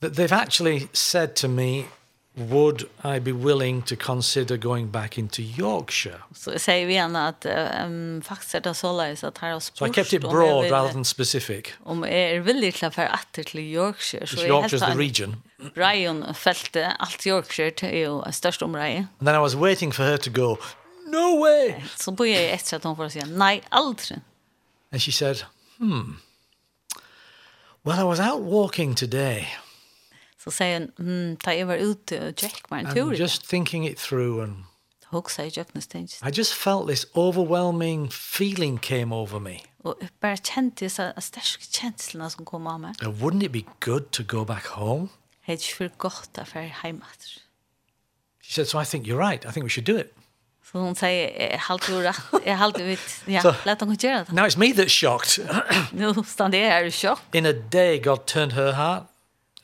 th- they've actually said to me, would I be willing to consider going back into Yorkshire? Så jeg sier vi henne at um, faktisk er det så løs at her har So I spurt kept it om broad jeg rather vil, than specific. om jeg er villig til å fære atter til Yorkshire. Så Because jeg Yorkshire's helt the an region. Brian feltet alt Yorkshire til jo størst omreie. And then I was waiting for her to go, no way. Så bor jeg etter at hun får si nei, aldri. And she said, hmm. Well, I was out walking today. Så sier hun, mm, da jeg var ute og gikk meg en tur. I'm i dag, just thinking it through and Hun sier Jøknes Tengs. I just felt this overwhelming feeling came over me. Og jeg bare kjente disse største kjenslene som kom av meg. Uh, Wouldn't it be good to go back home? Jeg er ikke for godt å fære hjemme etter. She said, so I think you're right. I think we should do it. Så hun sier, jeg halte jo rett, jeg halte jo ut, ja, Så- la dem gjøre det. Now it's me that's shocked. Nå stand jeg her i sjokk. In a day, God turned her heart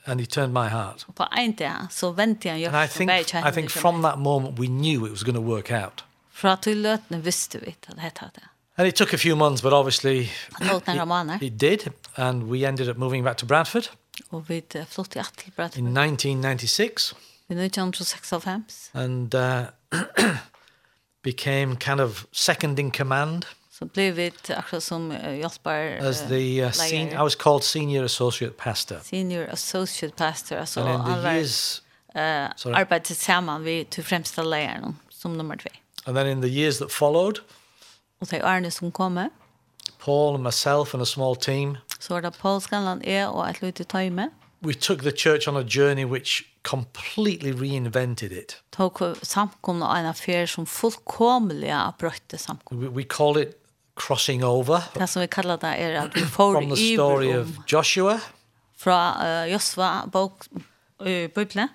and he turned my heart. På en dag, så venter jeg And I gjør think, I think from that moment, we knew it was going to work out. Fra til løtene visste vi at det hette det. And it took a few months, but obviously Han holdt en romaner, it did. And we ended up moving back to Bradford og vi eh, flyttet i Attelbrød in 1996 i 1956. and uh, became kind of second in command Så ble vi et akkurat som eh, hjelper as eh, the uh, sen- leier. I was called senior associate pastor. senior associate pastor, altså And in han the var years, sorry. arbeidet sammen vi til fremste leieren som nummer tve. and then in the years that followed, Og det er Arne som kommer, Paul and myself and a small team, så var det Paul Scanland E og et lite tøyme, we took the church on a journey which completely reinvented it. tok samkomne av en affær som fullkomlig har brøtte samkomne. We, we called it crossing over Det som vi kallar det er at vi får from the i story om of Joshua. fra uh, Josva bok uh, Bibelen,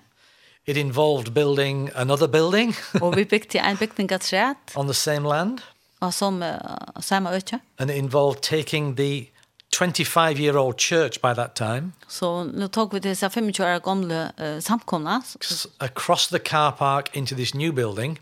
It involved building another building og vi bygde en bygning av træt, on the same land, og som uh, samme øtje. and it involved taking the 25 year old church by that time Så nå tok vi disse 25 år gamle uh, samkomne, s- across the car park into this new building.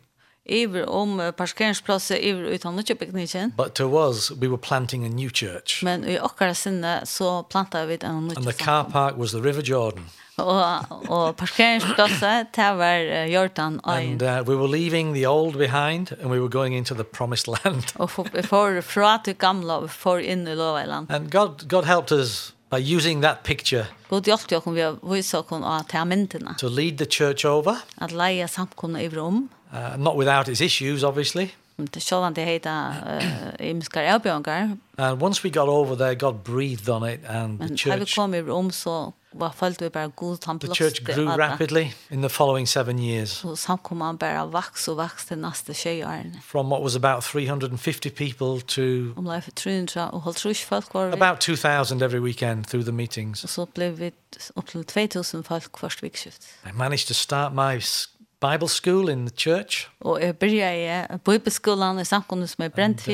iver om eh, parkeringsplasser, iver utan nødvendig bygningen. But to us, we were planting a new church. Men i okkara sinne så plantet vi en And the nødvendig car park was the River Jordan. Og, og parkeringsplasser, det var eh, Jordan And Øyen. uh, we were leaving the old behind and we were going into the promised land. Og for- vi får fra til gamle, og vi får inn i Lovailand. And God, God helped us by using that picture God hjelpte jo vi å vise oss av til myndene. to lead the church over, At leie samkomne i rom, uh, not without its issues, obviously. det sjálv han det er heita eh, imskar erbjørngar, And once we got over there, God breathed on it, and the men her vi church, kom i rom så um, var følte vi bare god, han the church blåste grew alle. rapidly in the following seven years. Så samkommer han bare vaks og vaks til neste tjej årene. From what was about 350 people to Om lai for 300 og holdt trus folk var vi, about 2,000 every weekend through the meetings. og så ble vi opp til 2000 folk først vikskift. I managed to start my s- Bible school in the church, Og eh, jeg begynte i bibelskolen i samkommet som jeg brent for,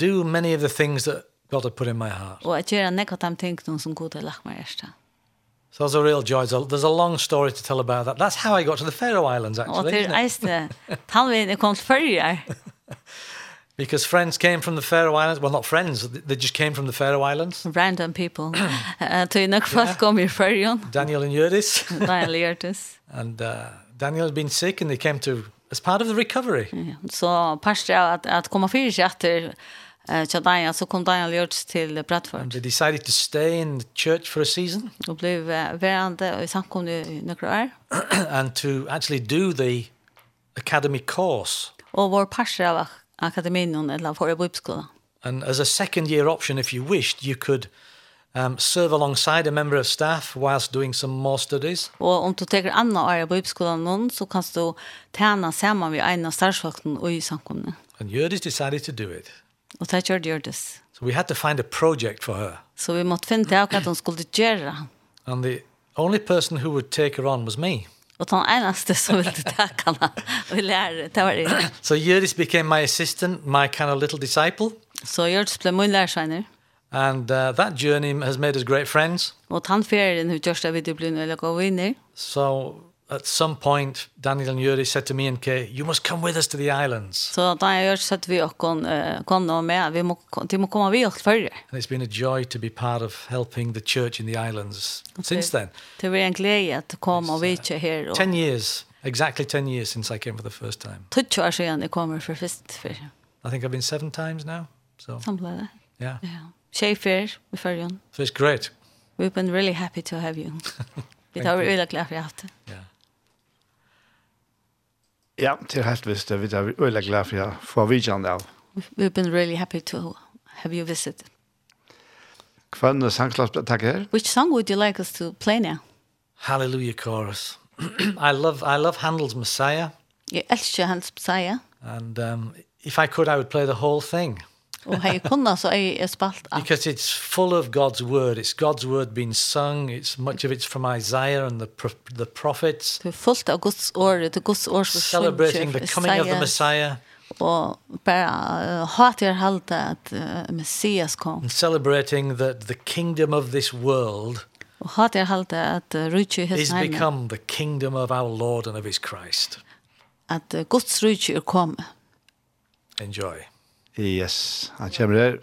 do many of the things that God had put in my heart. og jeg gjør nekka dem tingene som god har er lagt meg hjertet. So it was a real joy. There's a- There's a long story to tell about that. That's how I got to the Faroe Islands, Og actually. til isn't it? eisene, tannveien jeg kom er til førre, Because friends came from the Faroe Islands. Well, not friends, th- they just came from the Faroe Islands. random people, Eh, til nok folk kom i førre, Daniel and Yurdis. da jeg lærte oss. And uh, Daniel had been sick, and they came to as part of the recovery. Så parster av at, at komme fire seg etter eh, til Daniel, så kom Daniel Gjørts til Bradford, They decided to stay in the church for a season og ble eh, værende og i samkommet i noen år. and to actually do the academy course. Og vår parster av ak- akademien, eller for i bibelskolen. And as a second year option, if you wished, you could um, serve alongside a member of staff whilst doing some more studies. Og um om du teker andre år i bibelskolen noen, så kan du tjene sammen med en av startsvakten og i samkommet. And Yurdis decided to do it. Og det gjør det gjørtes. So we had to find a project for her. Så vi måtte finne til hva de skulle gjøre. And the only person who would take her on was me. Og den eneste som ville takke henne og lære, det var det. So Yurdis became my assistant, my kind of little disciple. Så Gjørts ble min lærersveiner. And uh, that journey has made us great friends. Og den ferien hun gjørst av video ble nødvendig å gå inn i. So at some point, Daniel and Yuri said to me and Kay, you must come with us to the islands. Så da jeg gjørst sett vi og kon, uh, kon og med, vi må, de må komme vi og følge. And it's been a joy to be part of helping the church in the islands since then. Det var en glede at komme og vi ikke her. Og 10 years, exactly 10 years since I came for the first time. 20 år siden er jeg kommer for først for I think I've been seven times now. So, samlet det. yeah. Ja. Schaefer i følgen. So it's great. We've been really happy to have you. Vi tar Thank you. veldig glad for at jeg har haft det. Yeah. Ja, til helt visst, jeg vet jeg er øyelig glad for jeg får vidjan av. We've been really happy to have you visit. Kvann sangklass ble takk er her. Which song would you like us to play now? Hallelujah chorus. I love I love Handel's Messiah Jeg elsker hans Psaia, and um, if I could I would play the whole thing og har jeg kunnet, så er jeg spalt av. because it's full of God's word. It's God's word being sung. It's much of it's from Isaiah and the pro- the prophets. Du er fullt av Guds år, det er Guds år som celebrating the coming of the Messiah Og bare uh, hat jeg halte at uh, Messias kom. and celebrating that the kingdom of this world Og hat jeg halte at uh, Rydtje is hos hjemme, become the kingdom of our Lord and of his Christ. at uh, Guds Rydtje er kommet. Enjoy. Yes, han kommer her.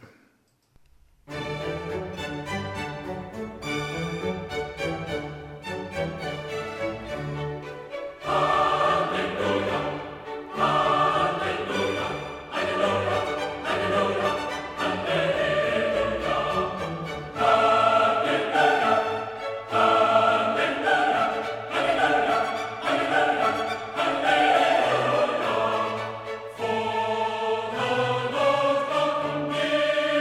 Hallelujah,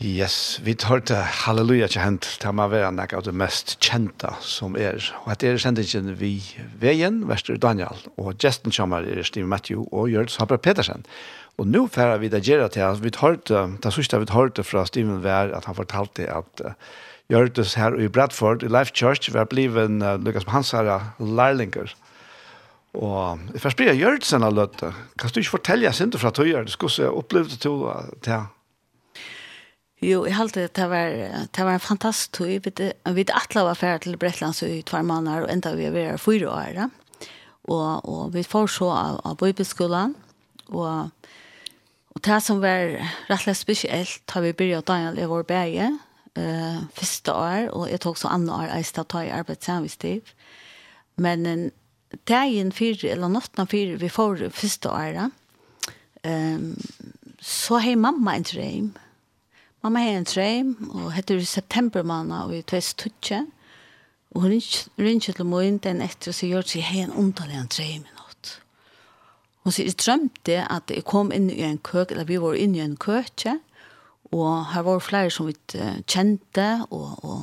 Yes, vi tar til Halleluja til hent, til man være nek av det mest kjenta som er. Og at er sendingen vi veien, Vester Daniel, og gesten kommer er Steve Matthew og Gjørts Haber Petersen. Og nå færer vi det gjøre til at vi tar til, det sørste vi tar til fra Steven Vær, at han fortalte at uh, Gjørtes her i Bradford, i Life Church, var bliven uh, Lukas Hansara lærlinger. Og jeg først blir Gjørtsen av løte. Kan du ikke fortelle sin til fra tøyer, du skulle se opplevde til det Jo, jeg halte det var, det var en fantastisk tur. Vi vet atla var ferdig til Bretland så i tvær måneder, og enda vi har vært fyra år. da. Og, og vi får så av, av bøybeskolen, og, og det som var rett og slett spesielt, har vi begynt Daniel i vår bæge, eh første år, og jeg tok så andre år, jeg stod ta i arbeid sammen med Stiv. Men en, dagen fire, eller natten fire, vi får første år, um, så har mamma en drøm, Mamma har en treim, og heter i september måned, og i tves tutje. Og hun ringer til morgen den etter, og så gjør seg hei en underlig en treim i natt. Hun sier, jeg drømte at jeg kom inn i en køk, eller vi var inne i en køkje, og her var flere som vi eh, kjente, og, og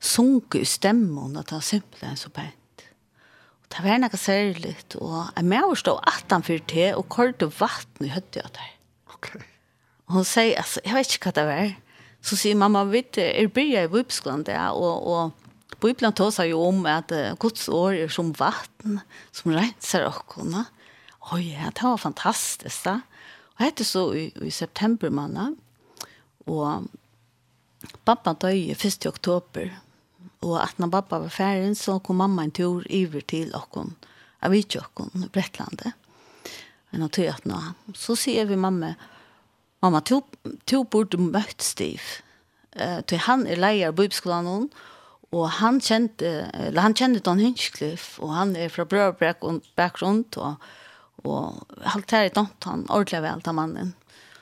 sunket i stemmen, at det var simpelthen så pent. Og det var noe særlig, og jeg med å stå 18 for te, og korte vatten i høttet av det. Ok. Og Hon sier, altså, jeg vet ikke hva det var. Så sier mamma, vet du, jeg blir i Bibelen der, og, og Bibelen tar seg jo om at eh, Guds år er som vatten, som renser åkene. Å ja, det var fantastisk da. Og hette så i, i september måned, og pappa døg 1. oktober, og at når pappa var ferdig, så kom mamma en tur iver til åkene, av Vidtjåkene, Brettlandet. Men han tog at nå, så sier vi mamma, Mamma, to, to burde møtt Steve. Uh, til han er leier på bibelskolen hon, og han kjente, eller han kjente Don Hinchcliffe, og han er fra brødbakgrund, og, og alt her i dant han ordentlig vel til mannen.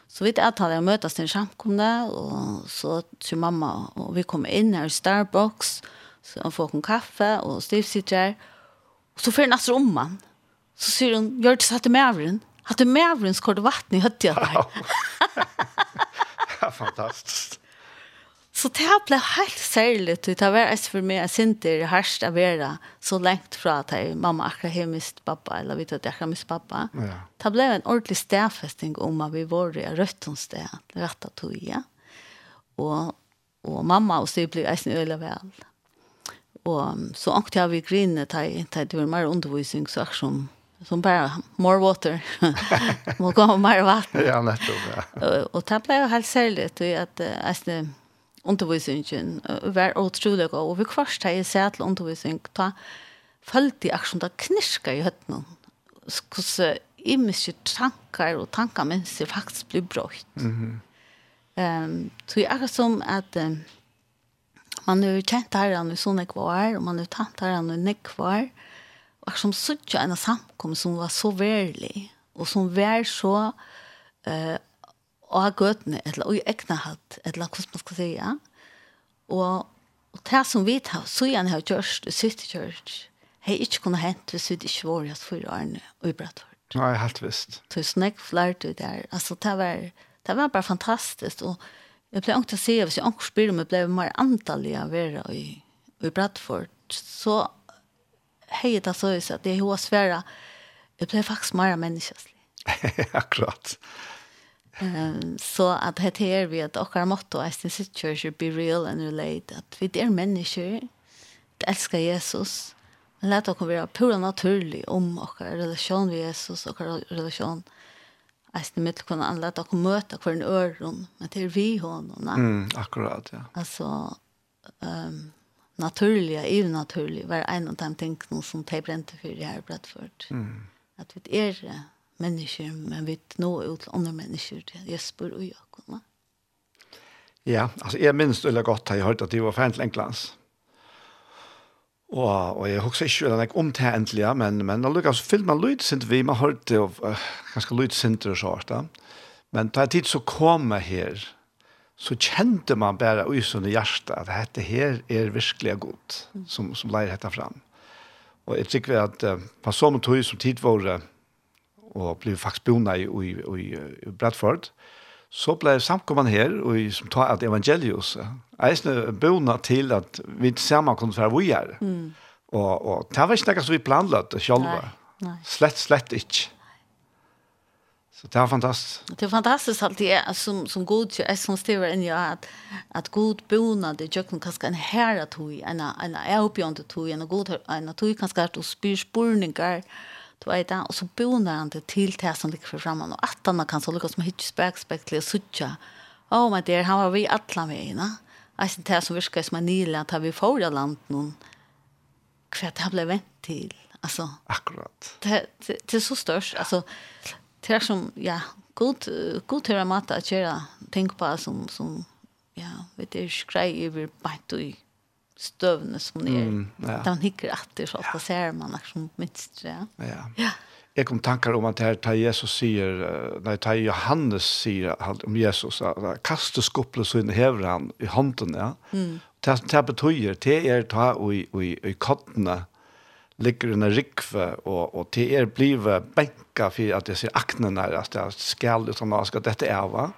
Så vi vet at han møtes til en samkomne, og så til mamma, og vi kommer inn her i Starbucks, så han får en kaffe, og Steve sitter her, og så får han etter om han. Så sier hun, gjør det så hatt det med avren. Hatt det er med avren, så går det vatten i høttet der. Fantastisk. Så det har blivit helt særligt. Det har varit för mig att inte är härst att vara så långt från att jag, mamma akkurat har mist pappa eller vet att jag har mist pappa. Ja. Det blev en ordentlig stäfästning om att vi var i Röttonsted, rätta toja. Och, och mamma och styr blev ägst öle väl. Och um, så åkte jag vid grinnet där det var mer undervisning så som, som bara more water. Man gav mer vatten Ja, nettopp, ja. og og det ble jo helt særlig til at jeg undervisningen eh, var utrolig god. Og vi kvarst har jeg sett til undervisning, da følte jeg aksjon, da knirka i høttene. Hvordan imiske tanker og tanker mens jeg faktisk blir brått. Mm -hmm. um, så jeg akkurat som at um, man har jo kjent herren i sånne kvar, og man har jo tatt herren i nekvar, og akkurat som suttje en samkomst som var så verlig, og som var eh, så og gøtene, eller og i egna hatt, eller hvordan man skal si, ja. Og, og det som vi tar, så gjerne har gjort, og sitt gjort, har ikke kunnet hente hvis vi ikke var hos fire årene, og i Brattford. Nei, helt visst. Så jeg snakk flert ut der. Altså, det var, det var bare fantastisk, og jeg ble ångt å si, hvis jeg ångt spyr om jeg ble mer antallig av å være i, i Brattford, så hei det så ut at jeg har svære, jeg ble faktisk mer menneskeslig. Akkurat. Ehm, så att det här vi att och motto är sin situation be real and relate att vi är människor att älska Jesus men låt oss vara pura naturlig om och relation med Jesus och relation är det mitt kunna alla att och möta för en öron men det är vi honom mm. Mm, akkurat, ja. alltså ehm naturliga är naturlig var en av de tänken som de brände för det här Bradford mm. att vi är eh, människor men vi nå ut till andra människor till Jesper och Jakob va? Ja, altså jeg minns øyla godt har jeg hørt at de var fan til Englands. Og, og jeg husker ikke hvordan jeg om til endelig, men, men allukka så fyllt man lydsint vi, man hørte og, uh, ganske lydsinter og sånt da. Men da jeg tid så kom jeg her, så kjente man bare usunne hjertet at dette her er virkelig godt, som, som leier dette fram. Og jeg tykker at uh, på sånn tog som tid var, og ble faktisk boende i, i, i, i Bradford, så ble samkomman her, og i- som tar at evangelius, eisne bona til at vi sammen kunne være vi er. Mm. Og, og det var ikke noe som vi planlade selv. Nei, nei. Slett, slett ikke. Så det var fantastisk. Det är fantastiskt allt det är som som er god ju är som styr in jag att att god bona det jag kan kanske en här att hur en en är uppjänd att hur en god en att hur kanske att spyr spurningar du vet det och så bona han det till det som ligger framan och att han kan så lucka som hitch back spectacles sucha oh my dear han var vi alla med va alltså det som virkar som en nila att vi får det land någon kvätt har blivit vänt till alltså Akkurat. det det det är så störst alltså det är som er ja god god höra mat att göra tänk på som som ja er vet du skrej över bant och stövne som ni är ja. där man hickar att det så att ser man liksom minst ja Ja. ja Jeg kom tankar om at her, ta Jesus sier, eh, nei, ta Johannes sier han- om Jesus, at kaste skupplet så inn hever han i hånden, ja. Mm. Det, det betyr, det er ta og i, og i, og i kottene, ligger under rikve, og, og det er blivet benka for at jeg sier aknene, at jeg skal er utan at jeg skal dette er, va?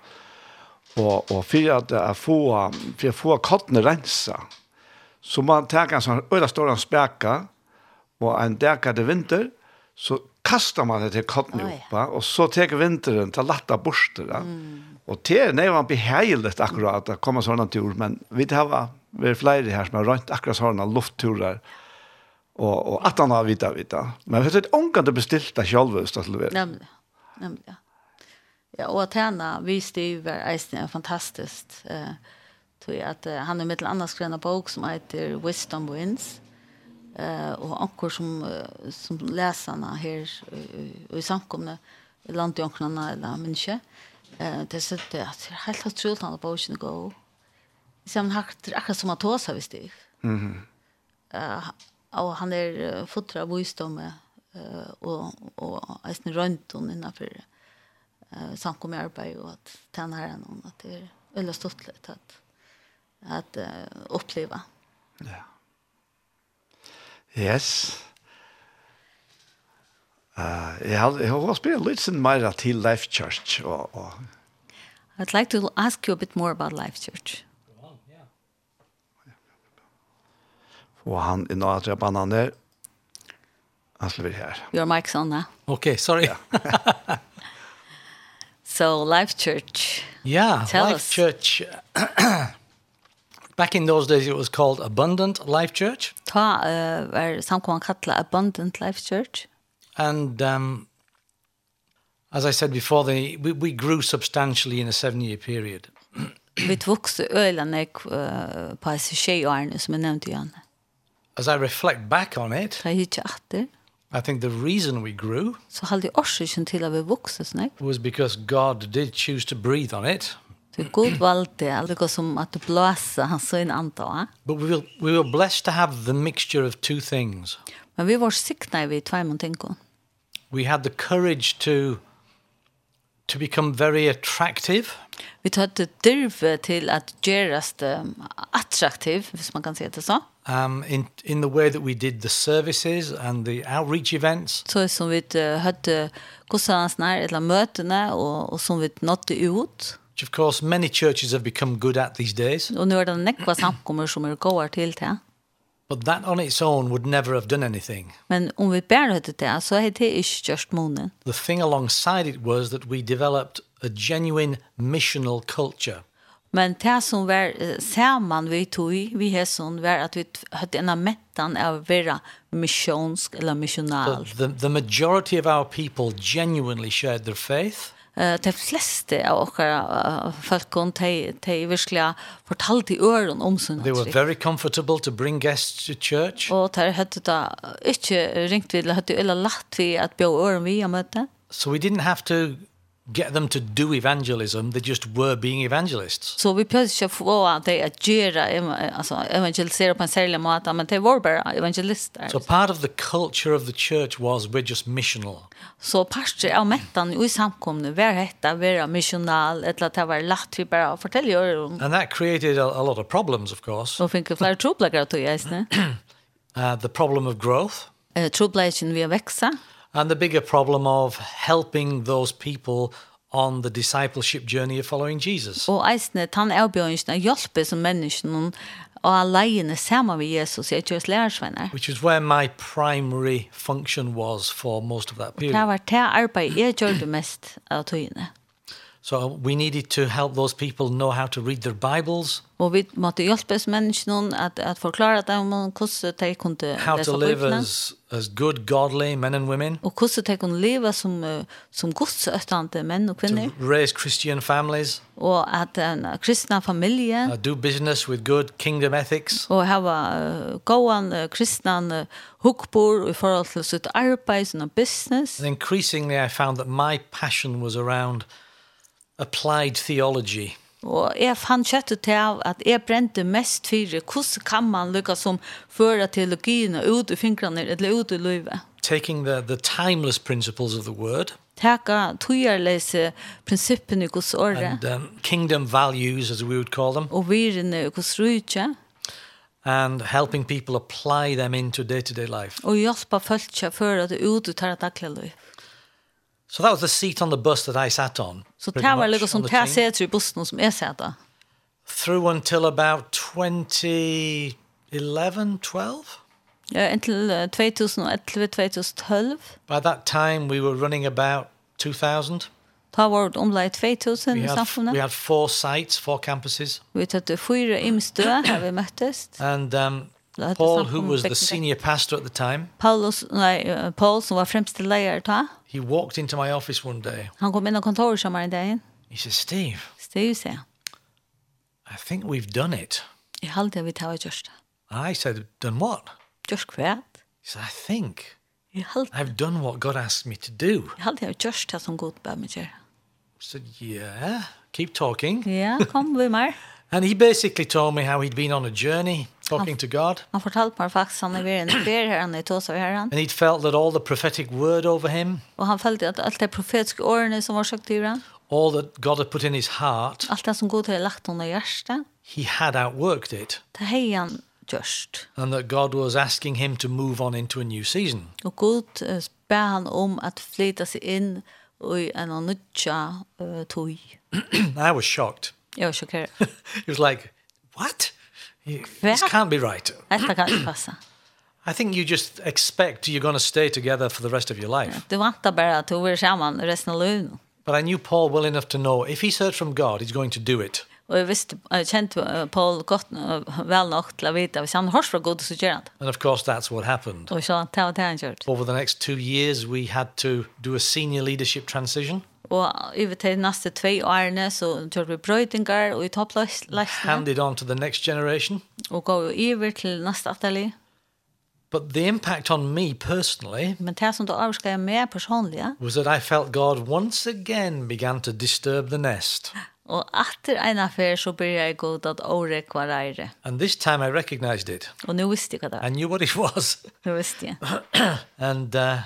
Og, og for at jeg får, for jeg får kottene rensa, så må man ta en sånn øyla stor en speka, og en dekade vinter, så kastar man det til kotten Oi. oppe, og så tek vinteren til latta borster. Mm. Og det er nevnt beheilet akkurat å komme sånne tur, men vi har vært flere her som har rønt akkurat sånne luftturer, og, og at han har vita vita. Men vi har sett ångande bestilt det selv, hvis det er til å være. nämligen nämligen ja och att henne vi styver Eisen är fantastiskt eh tror jag att eh, han är med till annars gröna bok som heter Wisdom Wins eh och ankor som eh, som läsarna här eh, i samkomne landjonknarna eller människa eh det så det är helt otroligt att boken er går sen har det er akkurat som att ta sig visst det Eh, og han er uh, fotra av visdomme uh, og, og eisen røntgen innenfor uh, samkommet arbeid og at tjene her er noen at det er veldig stort litt at, at uh, oppleve. Yes. Uh, jeg har, jeg har spilt litt sin mer til Life Church, og, og I'd like to ask you a bit more about Life Church. få han i några tre bananer. Han skulle være her. Your mic's on now. Okay, sorry. Yeah, So Life Church, Tell Life us. Church. Back in those days, it was called Abundant Life Church. ta uh, er samkommet kattla Abundant Life Church. And um, as I said before, the, we, we grew substantially in a seven-year period. Vi vokste øyene uh, på disse tjejårene som jeg nevnte, Janne. As I reflect back on it, Da jeg ikke atter. I think the reason we grew så halde jeg årsaken til at vi vokste snakk. was because God did choose to breathe on it. Så god valgte alt er det som at det blåser hans sønn antall. But we were, we were blessed to have the mixture of two things. Men vi var sikna vi tvei mot tenkon. We had the courage to to become very attractive Vi tøtte dyrve til at gjøres det attraktiv, hvis man kan si det så. um, in in the way that we did the services and the outreach events, Så som vi eh, høtte kostnadsnær eller møtene, og, og som vi nådde ut. which of course many churches have become good at these days. Og nå er det nekva samkommer som er gåar til det. But that on its own would never have done anything. Men om vi bare høtte det, så er det ikke gjørst månen. The thing alongside it was that we developed a genuine missional culture. Men det som var eh, saman vi tog vi hesson var att vi t- hade en mättan av att vara missionsk eller The, missional. the, the majority of our people genuinely shared their faith. Eh de flesta av våra eh, folk kon te te verkligen fortalte i öron om sin They were tryck. very comfortable to bring guests to church. Och där hade det inte ringt vid eller hade eller lagt vi att bo öron vi och möte. So we didn't have to get them to do evangelism, they just were being evangelists. Så vi plötsligt få att det att göra ev- alltså evangelisera på en särlig måte men det var bara evangelister. So part of the culture of the church was we're just missional. Så parter av mettan i samkomne var hetta vera missional etla ta var lagt vi bara fortälja er om And that created a, a lot of problems, of course. så fick jag flera troplägar att jag istället. Uh, the problem of growth Eh troplägen vi växa and the bigger problem of helping those people on the discipleship journey of following Jesus. Og eisne, han er bjørnsen av hjelpe som mennesken og alene sammen med Jesus, jeg kjøres lærersvenner. Which was where my primary function was for most of that Det period. var det arbeid jeg gjør det mest av tøyene. So we needed to help those people know how to read their Bibles, Og vi måtte hjelpe menneskene at, at forklare dem om hvordan de kunne how to lese live Bibelen, as, as good, godly men and women, og hvordan de kunne leve som, eh, som godsøttende menn og kvinner, to raise Christian families, og at en kristne familie, uh, do business with good kingdom ethics, og hava uh, gåan uh, kristnan uh, hukkbor i forhold til sitt arbeid, sin business. And increasingly, I found that my passion was around applied theology, Og jeg fann kjøtt ut av at jeg brente mest fyrir hvordan kan man lukka som um føra teologien ut i fingrene eller ut i livet. taking the, the timeless principles of the word Taka tøyerleise prinsippene i hos året and um, kingdom values, as we would call them, og virene i hos rydtje and helping people apply them into day to day life. og hjelpa føltja føra det ut i tarra daglig liv. So that was the seat on the bus that I sat on. Så pretty det var much, lukka on som the det team, seter i bussen som jeg seta. Through until about 2011, 12. Ja, Inntil eh, 2011-2012 By that time, we were running about 2,000. Ta vårt omlai We 2000 i had, we samfunnet. had four sites, four campuses. Vi tøtte fyra imstø her vi møttes. And um, Det hette Paul, who Samfundet was the Bekkevik. senior pastor at the time, Paulus, nei, eh, Paul som var fremste leier ta, he walked into my office one day. han kom inn i kontoret som var i dagen. He said, Steve, Stiv seg. I think we've done it. Jeg halte vi tar gjørst. I said, Done what? Gjørst kvært. He said, I think Jeg halte I've done what God asked me to do. Jeg halte jeg gjørst det som god bør meg gjøre. I said, Yeah, keep talking. Ja, kom vi mer. And he basically told me how he'd been on a journey talking to God. Han fortalte meg faktisk han er ved en fer her, han er tås av herren. And he'd felt that all the prophetic word over him, Og han følte at alt det profetiske årene som var søkt i han, all that God had put in his heart, alt det som god har lagt under hjertet, he had outworked it. det har han gjørst. And that God was asking him to move on into a new season. Og god eh, ber han om at flytta seg inn i en av nødja uh, tog. I was shocked. Jeg var sjokkeret. He was like, "What? You- This can't be right. Detta kan inte passa. I think you just expect you're going to stay together for the rest of your life." Du vantar bara att du är samman er resten av livet. But I knew Paul well enough to know if he's heard from God, he's going to do it. Och jag visste, jag kände eh, Paul gott, eh, väl nog till att veta. Hvis han hörs från god så gör han det. And of course, that's what happened. Och så han tar det han gjort. Over the next two years, we had to do a senior leadership transition, Och över till nästa två årene så gjorde vi bröjtingar och i toppläsningar. handed on to the next generation. Och gav ju över till nästa atelier. But the impact on me personally Men det som då avskar jag med personliga. was that I felt God once again began to disturb the nest. Och efter en affär så började jag god att året var äre. And this time I recognized it. Och nu visste jag vad det I var. knew what it was. Nu visste jag. and uh,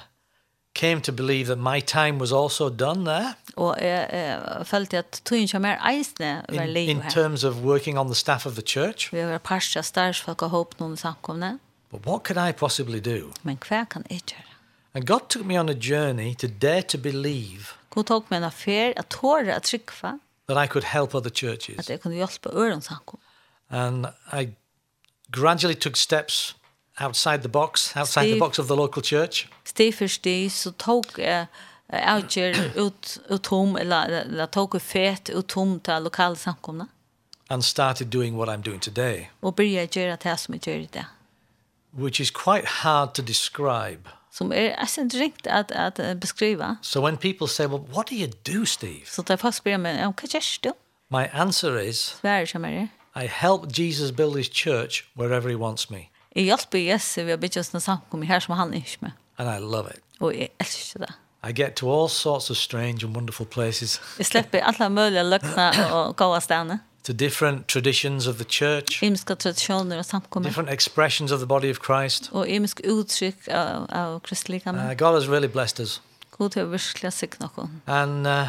came to believe that my time was also done there Och jag eh, följde att tog inte mer eisne var in, liv in här. terms of working on the staff of the church. Vi har parsa starsfolk og håp noen samkomne, But what could I possibly do? men hva kan jeg gjøre? And God took me on a journey to dare to believe God tok meg en affær, at tåre at trykva, that I could help other at churches. jeg kunne hjelpe øren samkomne. And I gradually took steps outside the box, outside the Steve. box of the local church. Steg for steg, så tok jeg eh, avgjør ut, ut tom, eller, eller tok jeg fet ut tom til lokale samkomne, And started doing what I'm doing today, og begynte å gjøre det som jeg gjør i det. which is quite hard to describe. Som er nesten ringt at, at eh, beskriva. So when people say, Well, what do you do, Steve? Så da folk spør meg, ja, hva gjør du? My answer is, Svære som er det. I help Jesus build his church wherever he wants me. Jeg hjelper Jesu ved å bygge oss en samkomne her som han er ikke med. And I love it. Og jeg elsker det. I get to all sorts of strange and wonderful places, Jeg slipper alle mulige løkna og gåa stedene. to different traditions of the church, Imiske tradisjoner og samkommer. different expressions of the body of Christ. Og imiske uttrykk av, av kristelige Uh, menn. God has really blessed us. God til å virkelig sikre noen. And uh,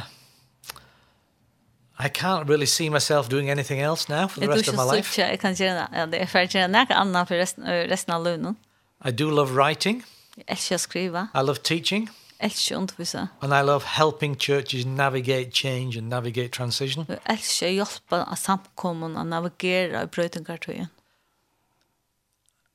I can't really see myself doing anything else now for the Jeg tror rest of ikke my så life. ikke jeg kan gjøre det. Ja, det er ferdig gjøre noe annet for resten, ø, resten av lønnen. I do love writing, Jeg elsker å skrive. I love teaching, Jeg elsker å undervise. And I love helping churches navigate change and navigate transition. Jeg elsker å hjelpe av samkommen å navigere i brøytingartøyen.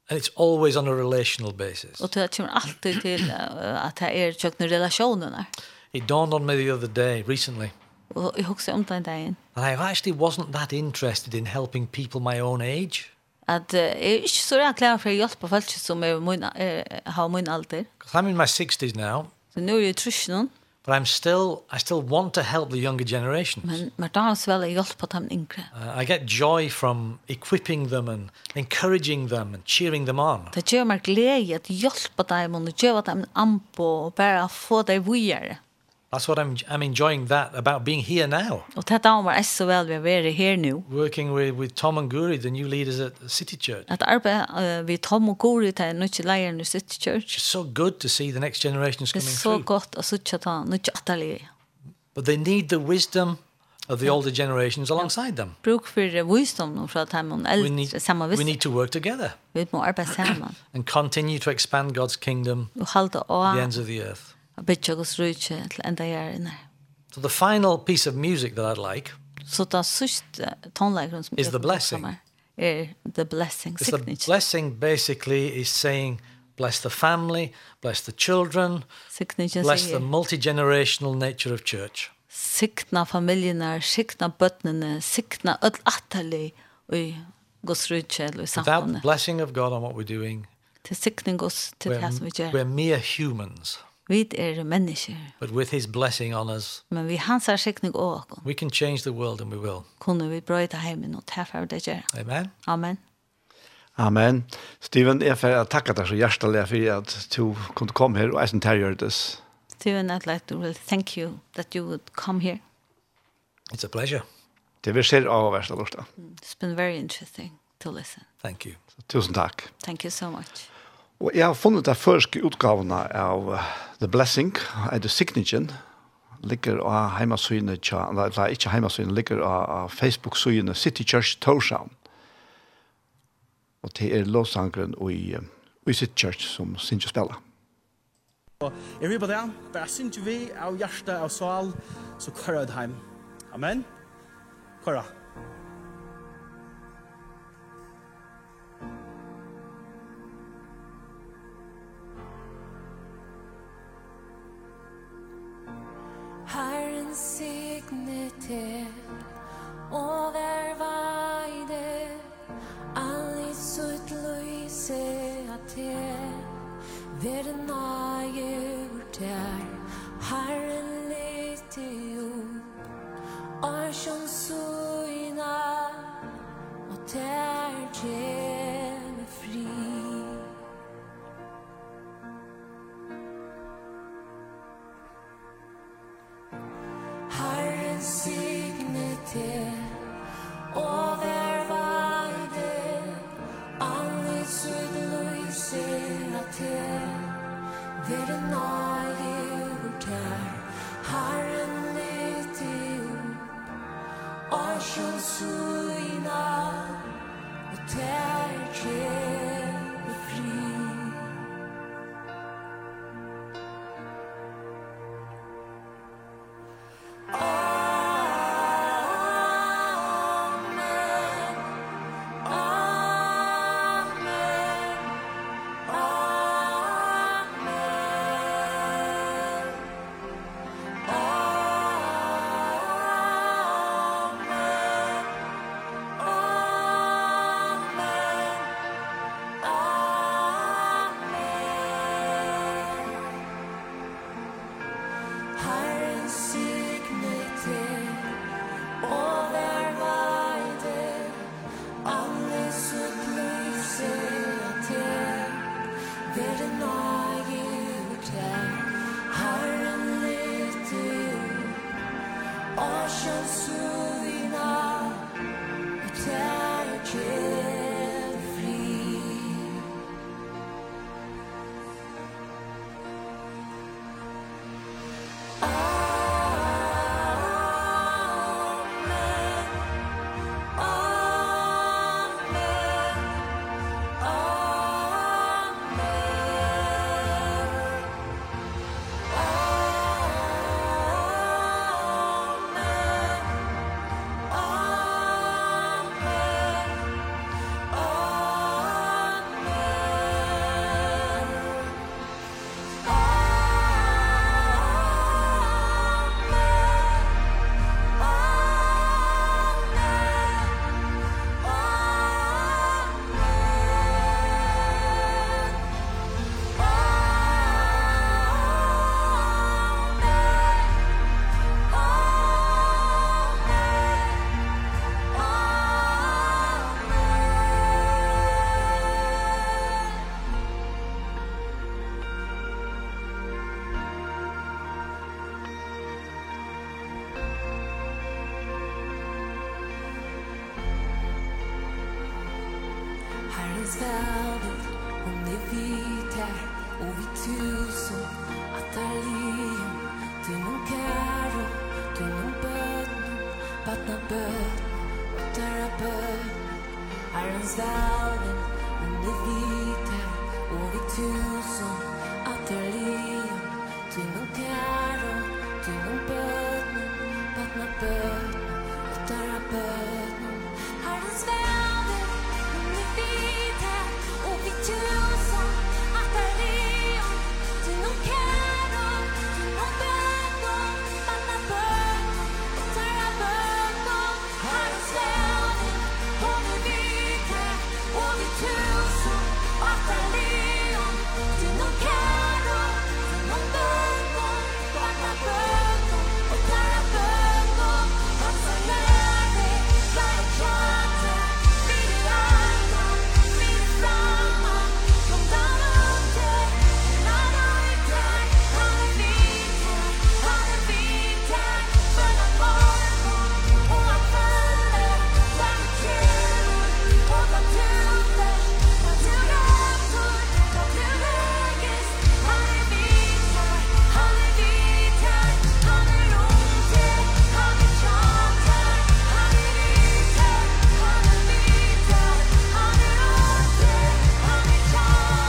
And it's always on a relational basis. Og det kommer alltid til eh, at det er kjøkken relasjoner. It dawned on me the other day, recently, Og um jeg husker om den dagen. that I actually wasn't that interested in helping people my own age. At eh, jeg er ikke så rett klar for å hjelpe folk som er min, er, har min alder. Because I'm in my 60s now, Så nå er jeg trusj noen, but I'm still, I still want to help the younger generations. men men da har jeg vel hjelpe dem yngre. Uh, I get joy from equipping them and encouraging them and cheering them on. Det gjør meg glede at hjelpe dem og gjøre dem anpå og bare få dem videre. That's what I'm, I'm enjoying that about being here now, Og det damer er så vel ved å være her nå. working with, with Tom and Guri, the new leaders at City Church. At arbeid uh, vi Tom og Gori til en nødvendig leier i City Church. It's so good to see the next generations er Det er coming så through. godt å sitte ta er nødvendig atterlige. But they need the wisdom of the older generations alongside them. Bruk for visdommen fra dem og We need, eldre sammen we visst. need to work together Vi må arbeide sammen and continue to expand God's kingdom og holde å at the ends of the earth. bytte oss rydtje til enda gjøre inne. So the final piece of music that I'd like Så da sørste tonleikeren som Is the jeg kommer blessing. sammen er The Blessing is the Signature. blessing basically is saying, bless the family, bless the children, Signature bless the sier multi-generational nature of church. sikna familiene, sikna bøttene, sikna öll atali i Guds rydtje eller i Without the samfunnet. blessing of God on what we're doing, Til sikning Guds til we're, det som vi gjør. we're mere humans. Vi er mennesker, But with his blessing on us, men vi hans er sikning og åkken. we can change the world and we will. Kunne vi brøyta heimen og tilfære det gjør. Amen. Amen. Amen. Steven, jeg får takke deg så hjertelig for at du kunne komme her og eisen tergjør det. Steven, I'd like to really thank you that you would come here. It's a pleasure. Det vil skje av å være så lort. It's been very interesting to listen. Thank you. Tusen takk. Thank you so much. Og jeg har funnet det første utgavene av eh, The Blessing, er det Signature, ligger av heimasynet, tja- nei, nei, ikke heimasynet, ligger av av Facebook-synet City Church Torshavn. Og det er lovsangeren i, eh, i City Church som synes spiller. Jeg vil på det, bare synes vi av hjerte av sal, så kører jeg det hjem. Amen. Kører. Herren signeter over veide all i sutt lyse at te verden eier der Herren lite jo er som suina og der tjene fri Herren signe te over vejde Alles ut lyse at te Ved en nøye gjort her Herren lite ut Arsjon suina Og er ter kjeve fri Herren signe til over veide alle sutt lyse til ved en nøye utær Herren lite og sjøn suina og tær kjell fri Amen. Herrens värld Hon är vit här och vi tusen Att där liv Du någon karo, du någon bön Vattna bön, och där är bön Herrens värld Hon är vit här och vi tusen Att där liv Du någon karo, du någon bön Vattna bön, och där är bön Herrens värld Hon är vit här och vi tusen Att där liv Du någon karo, du någon bön Vattna bön, och där är bön Herrens värld Hon är vit här och vi tusen Att där liv Du någon karo, du någon bön Vattna bön, och där är bön Han som lärde Fly katter Vid i andan Vid i flamman Kom down under Han är där Han är vinter Han är vinter Följa morgon Och han följer Fram i kulor Och vad tuter Vad du rättor Vad du läges Han är vinter Han är vinter Han är roter Han är tjatar Han är vinter Han är vinter Han är roter Han är tjatar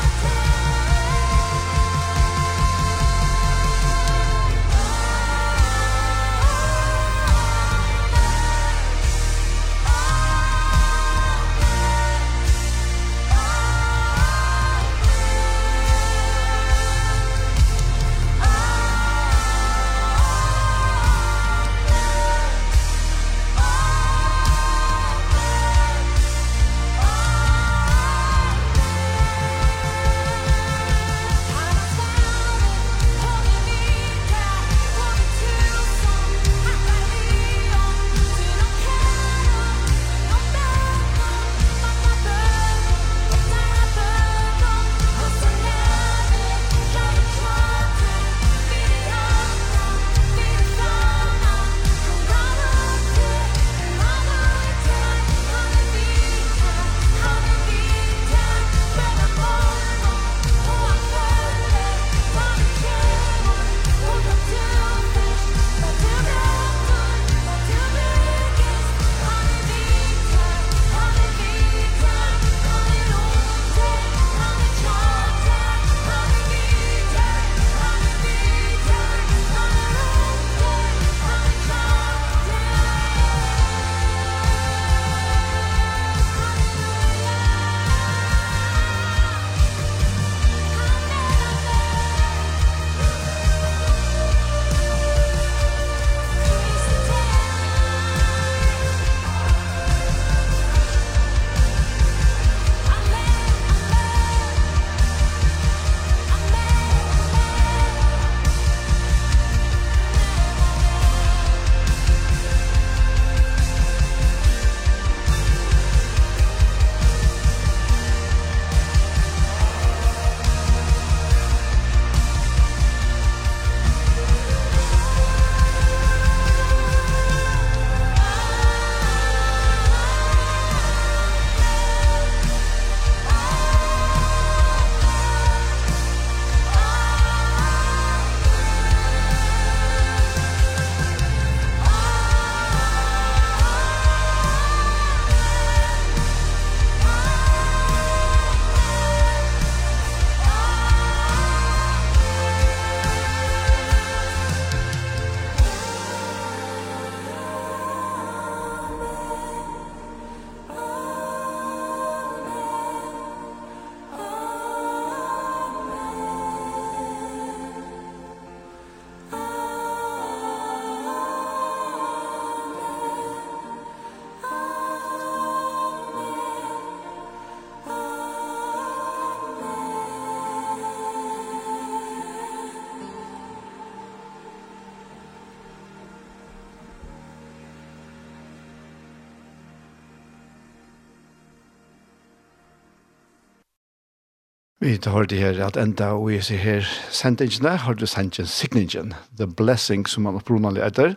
Vi har det her at enda og jeg ser her sendingene, har du sendt en signingen, The Blessing, som man opprunnelig etter,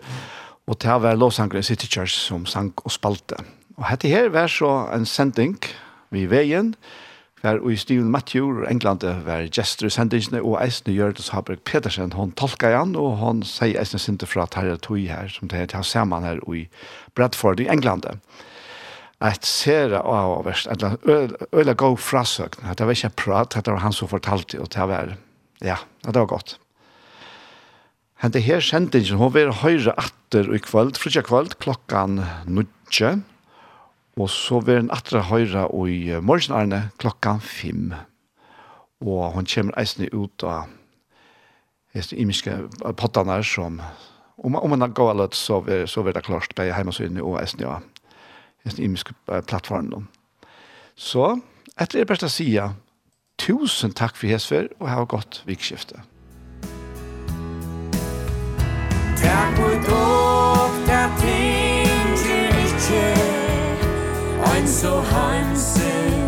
og til å være lovsangere i City Church som sang og spalte. Og dette her var så en sending vi veien, Her og i Steven Matthew og England var gestur i sendingene, og eisne Gjørtes Haberg Petersen, hon tolka han, og hon sier eisne sinte fra Terje Tui her, som det heter saman her og i Bradford i England. Et sere av verst, en øyla god frasøkn, det var ikke prat, det var han som fortalte, og det var, ja, det var godt. Hente her sendingen, hon vil høyre atter i kvöld, frutja kvöld, klokkan nudje, og så vil hun atter høyre i morgenarne eh, klokkan fem. Og hon kommer eisne ut av heste imiske pottene her som, om, om hun har gått løtt, så vil, så vil det klart, det er hjemme så inne og eisne av heste imiske eh, plattformen. Så, etter det beste sida, tusen takk for hesfer, og ha godt vikskiftet. Takk og dokta ting til ikkje Ein so heimsinn er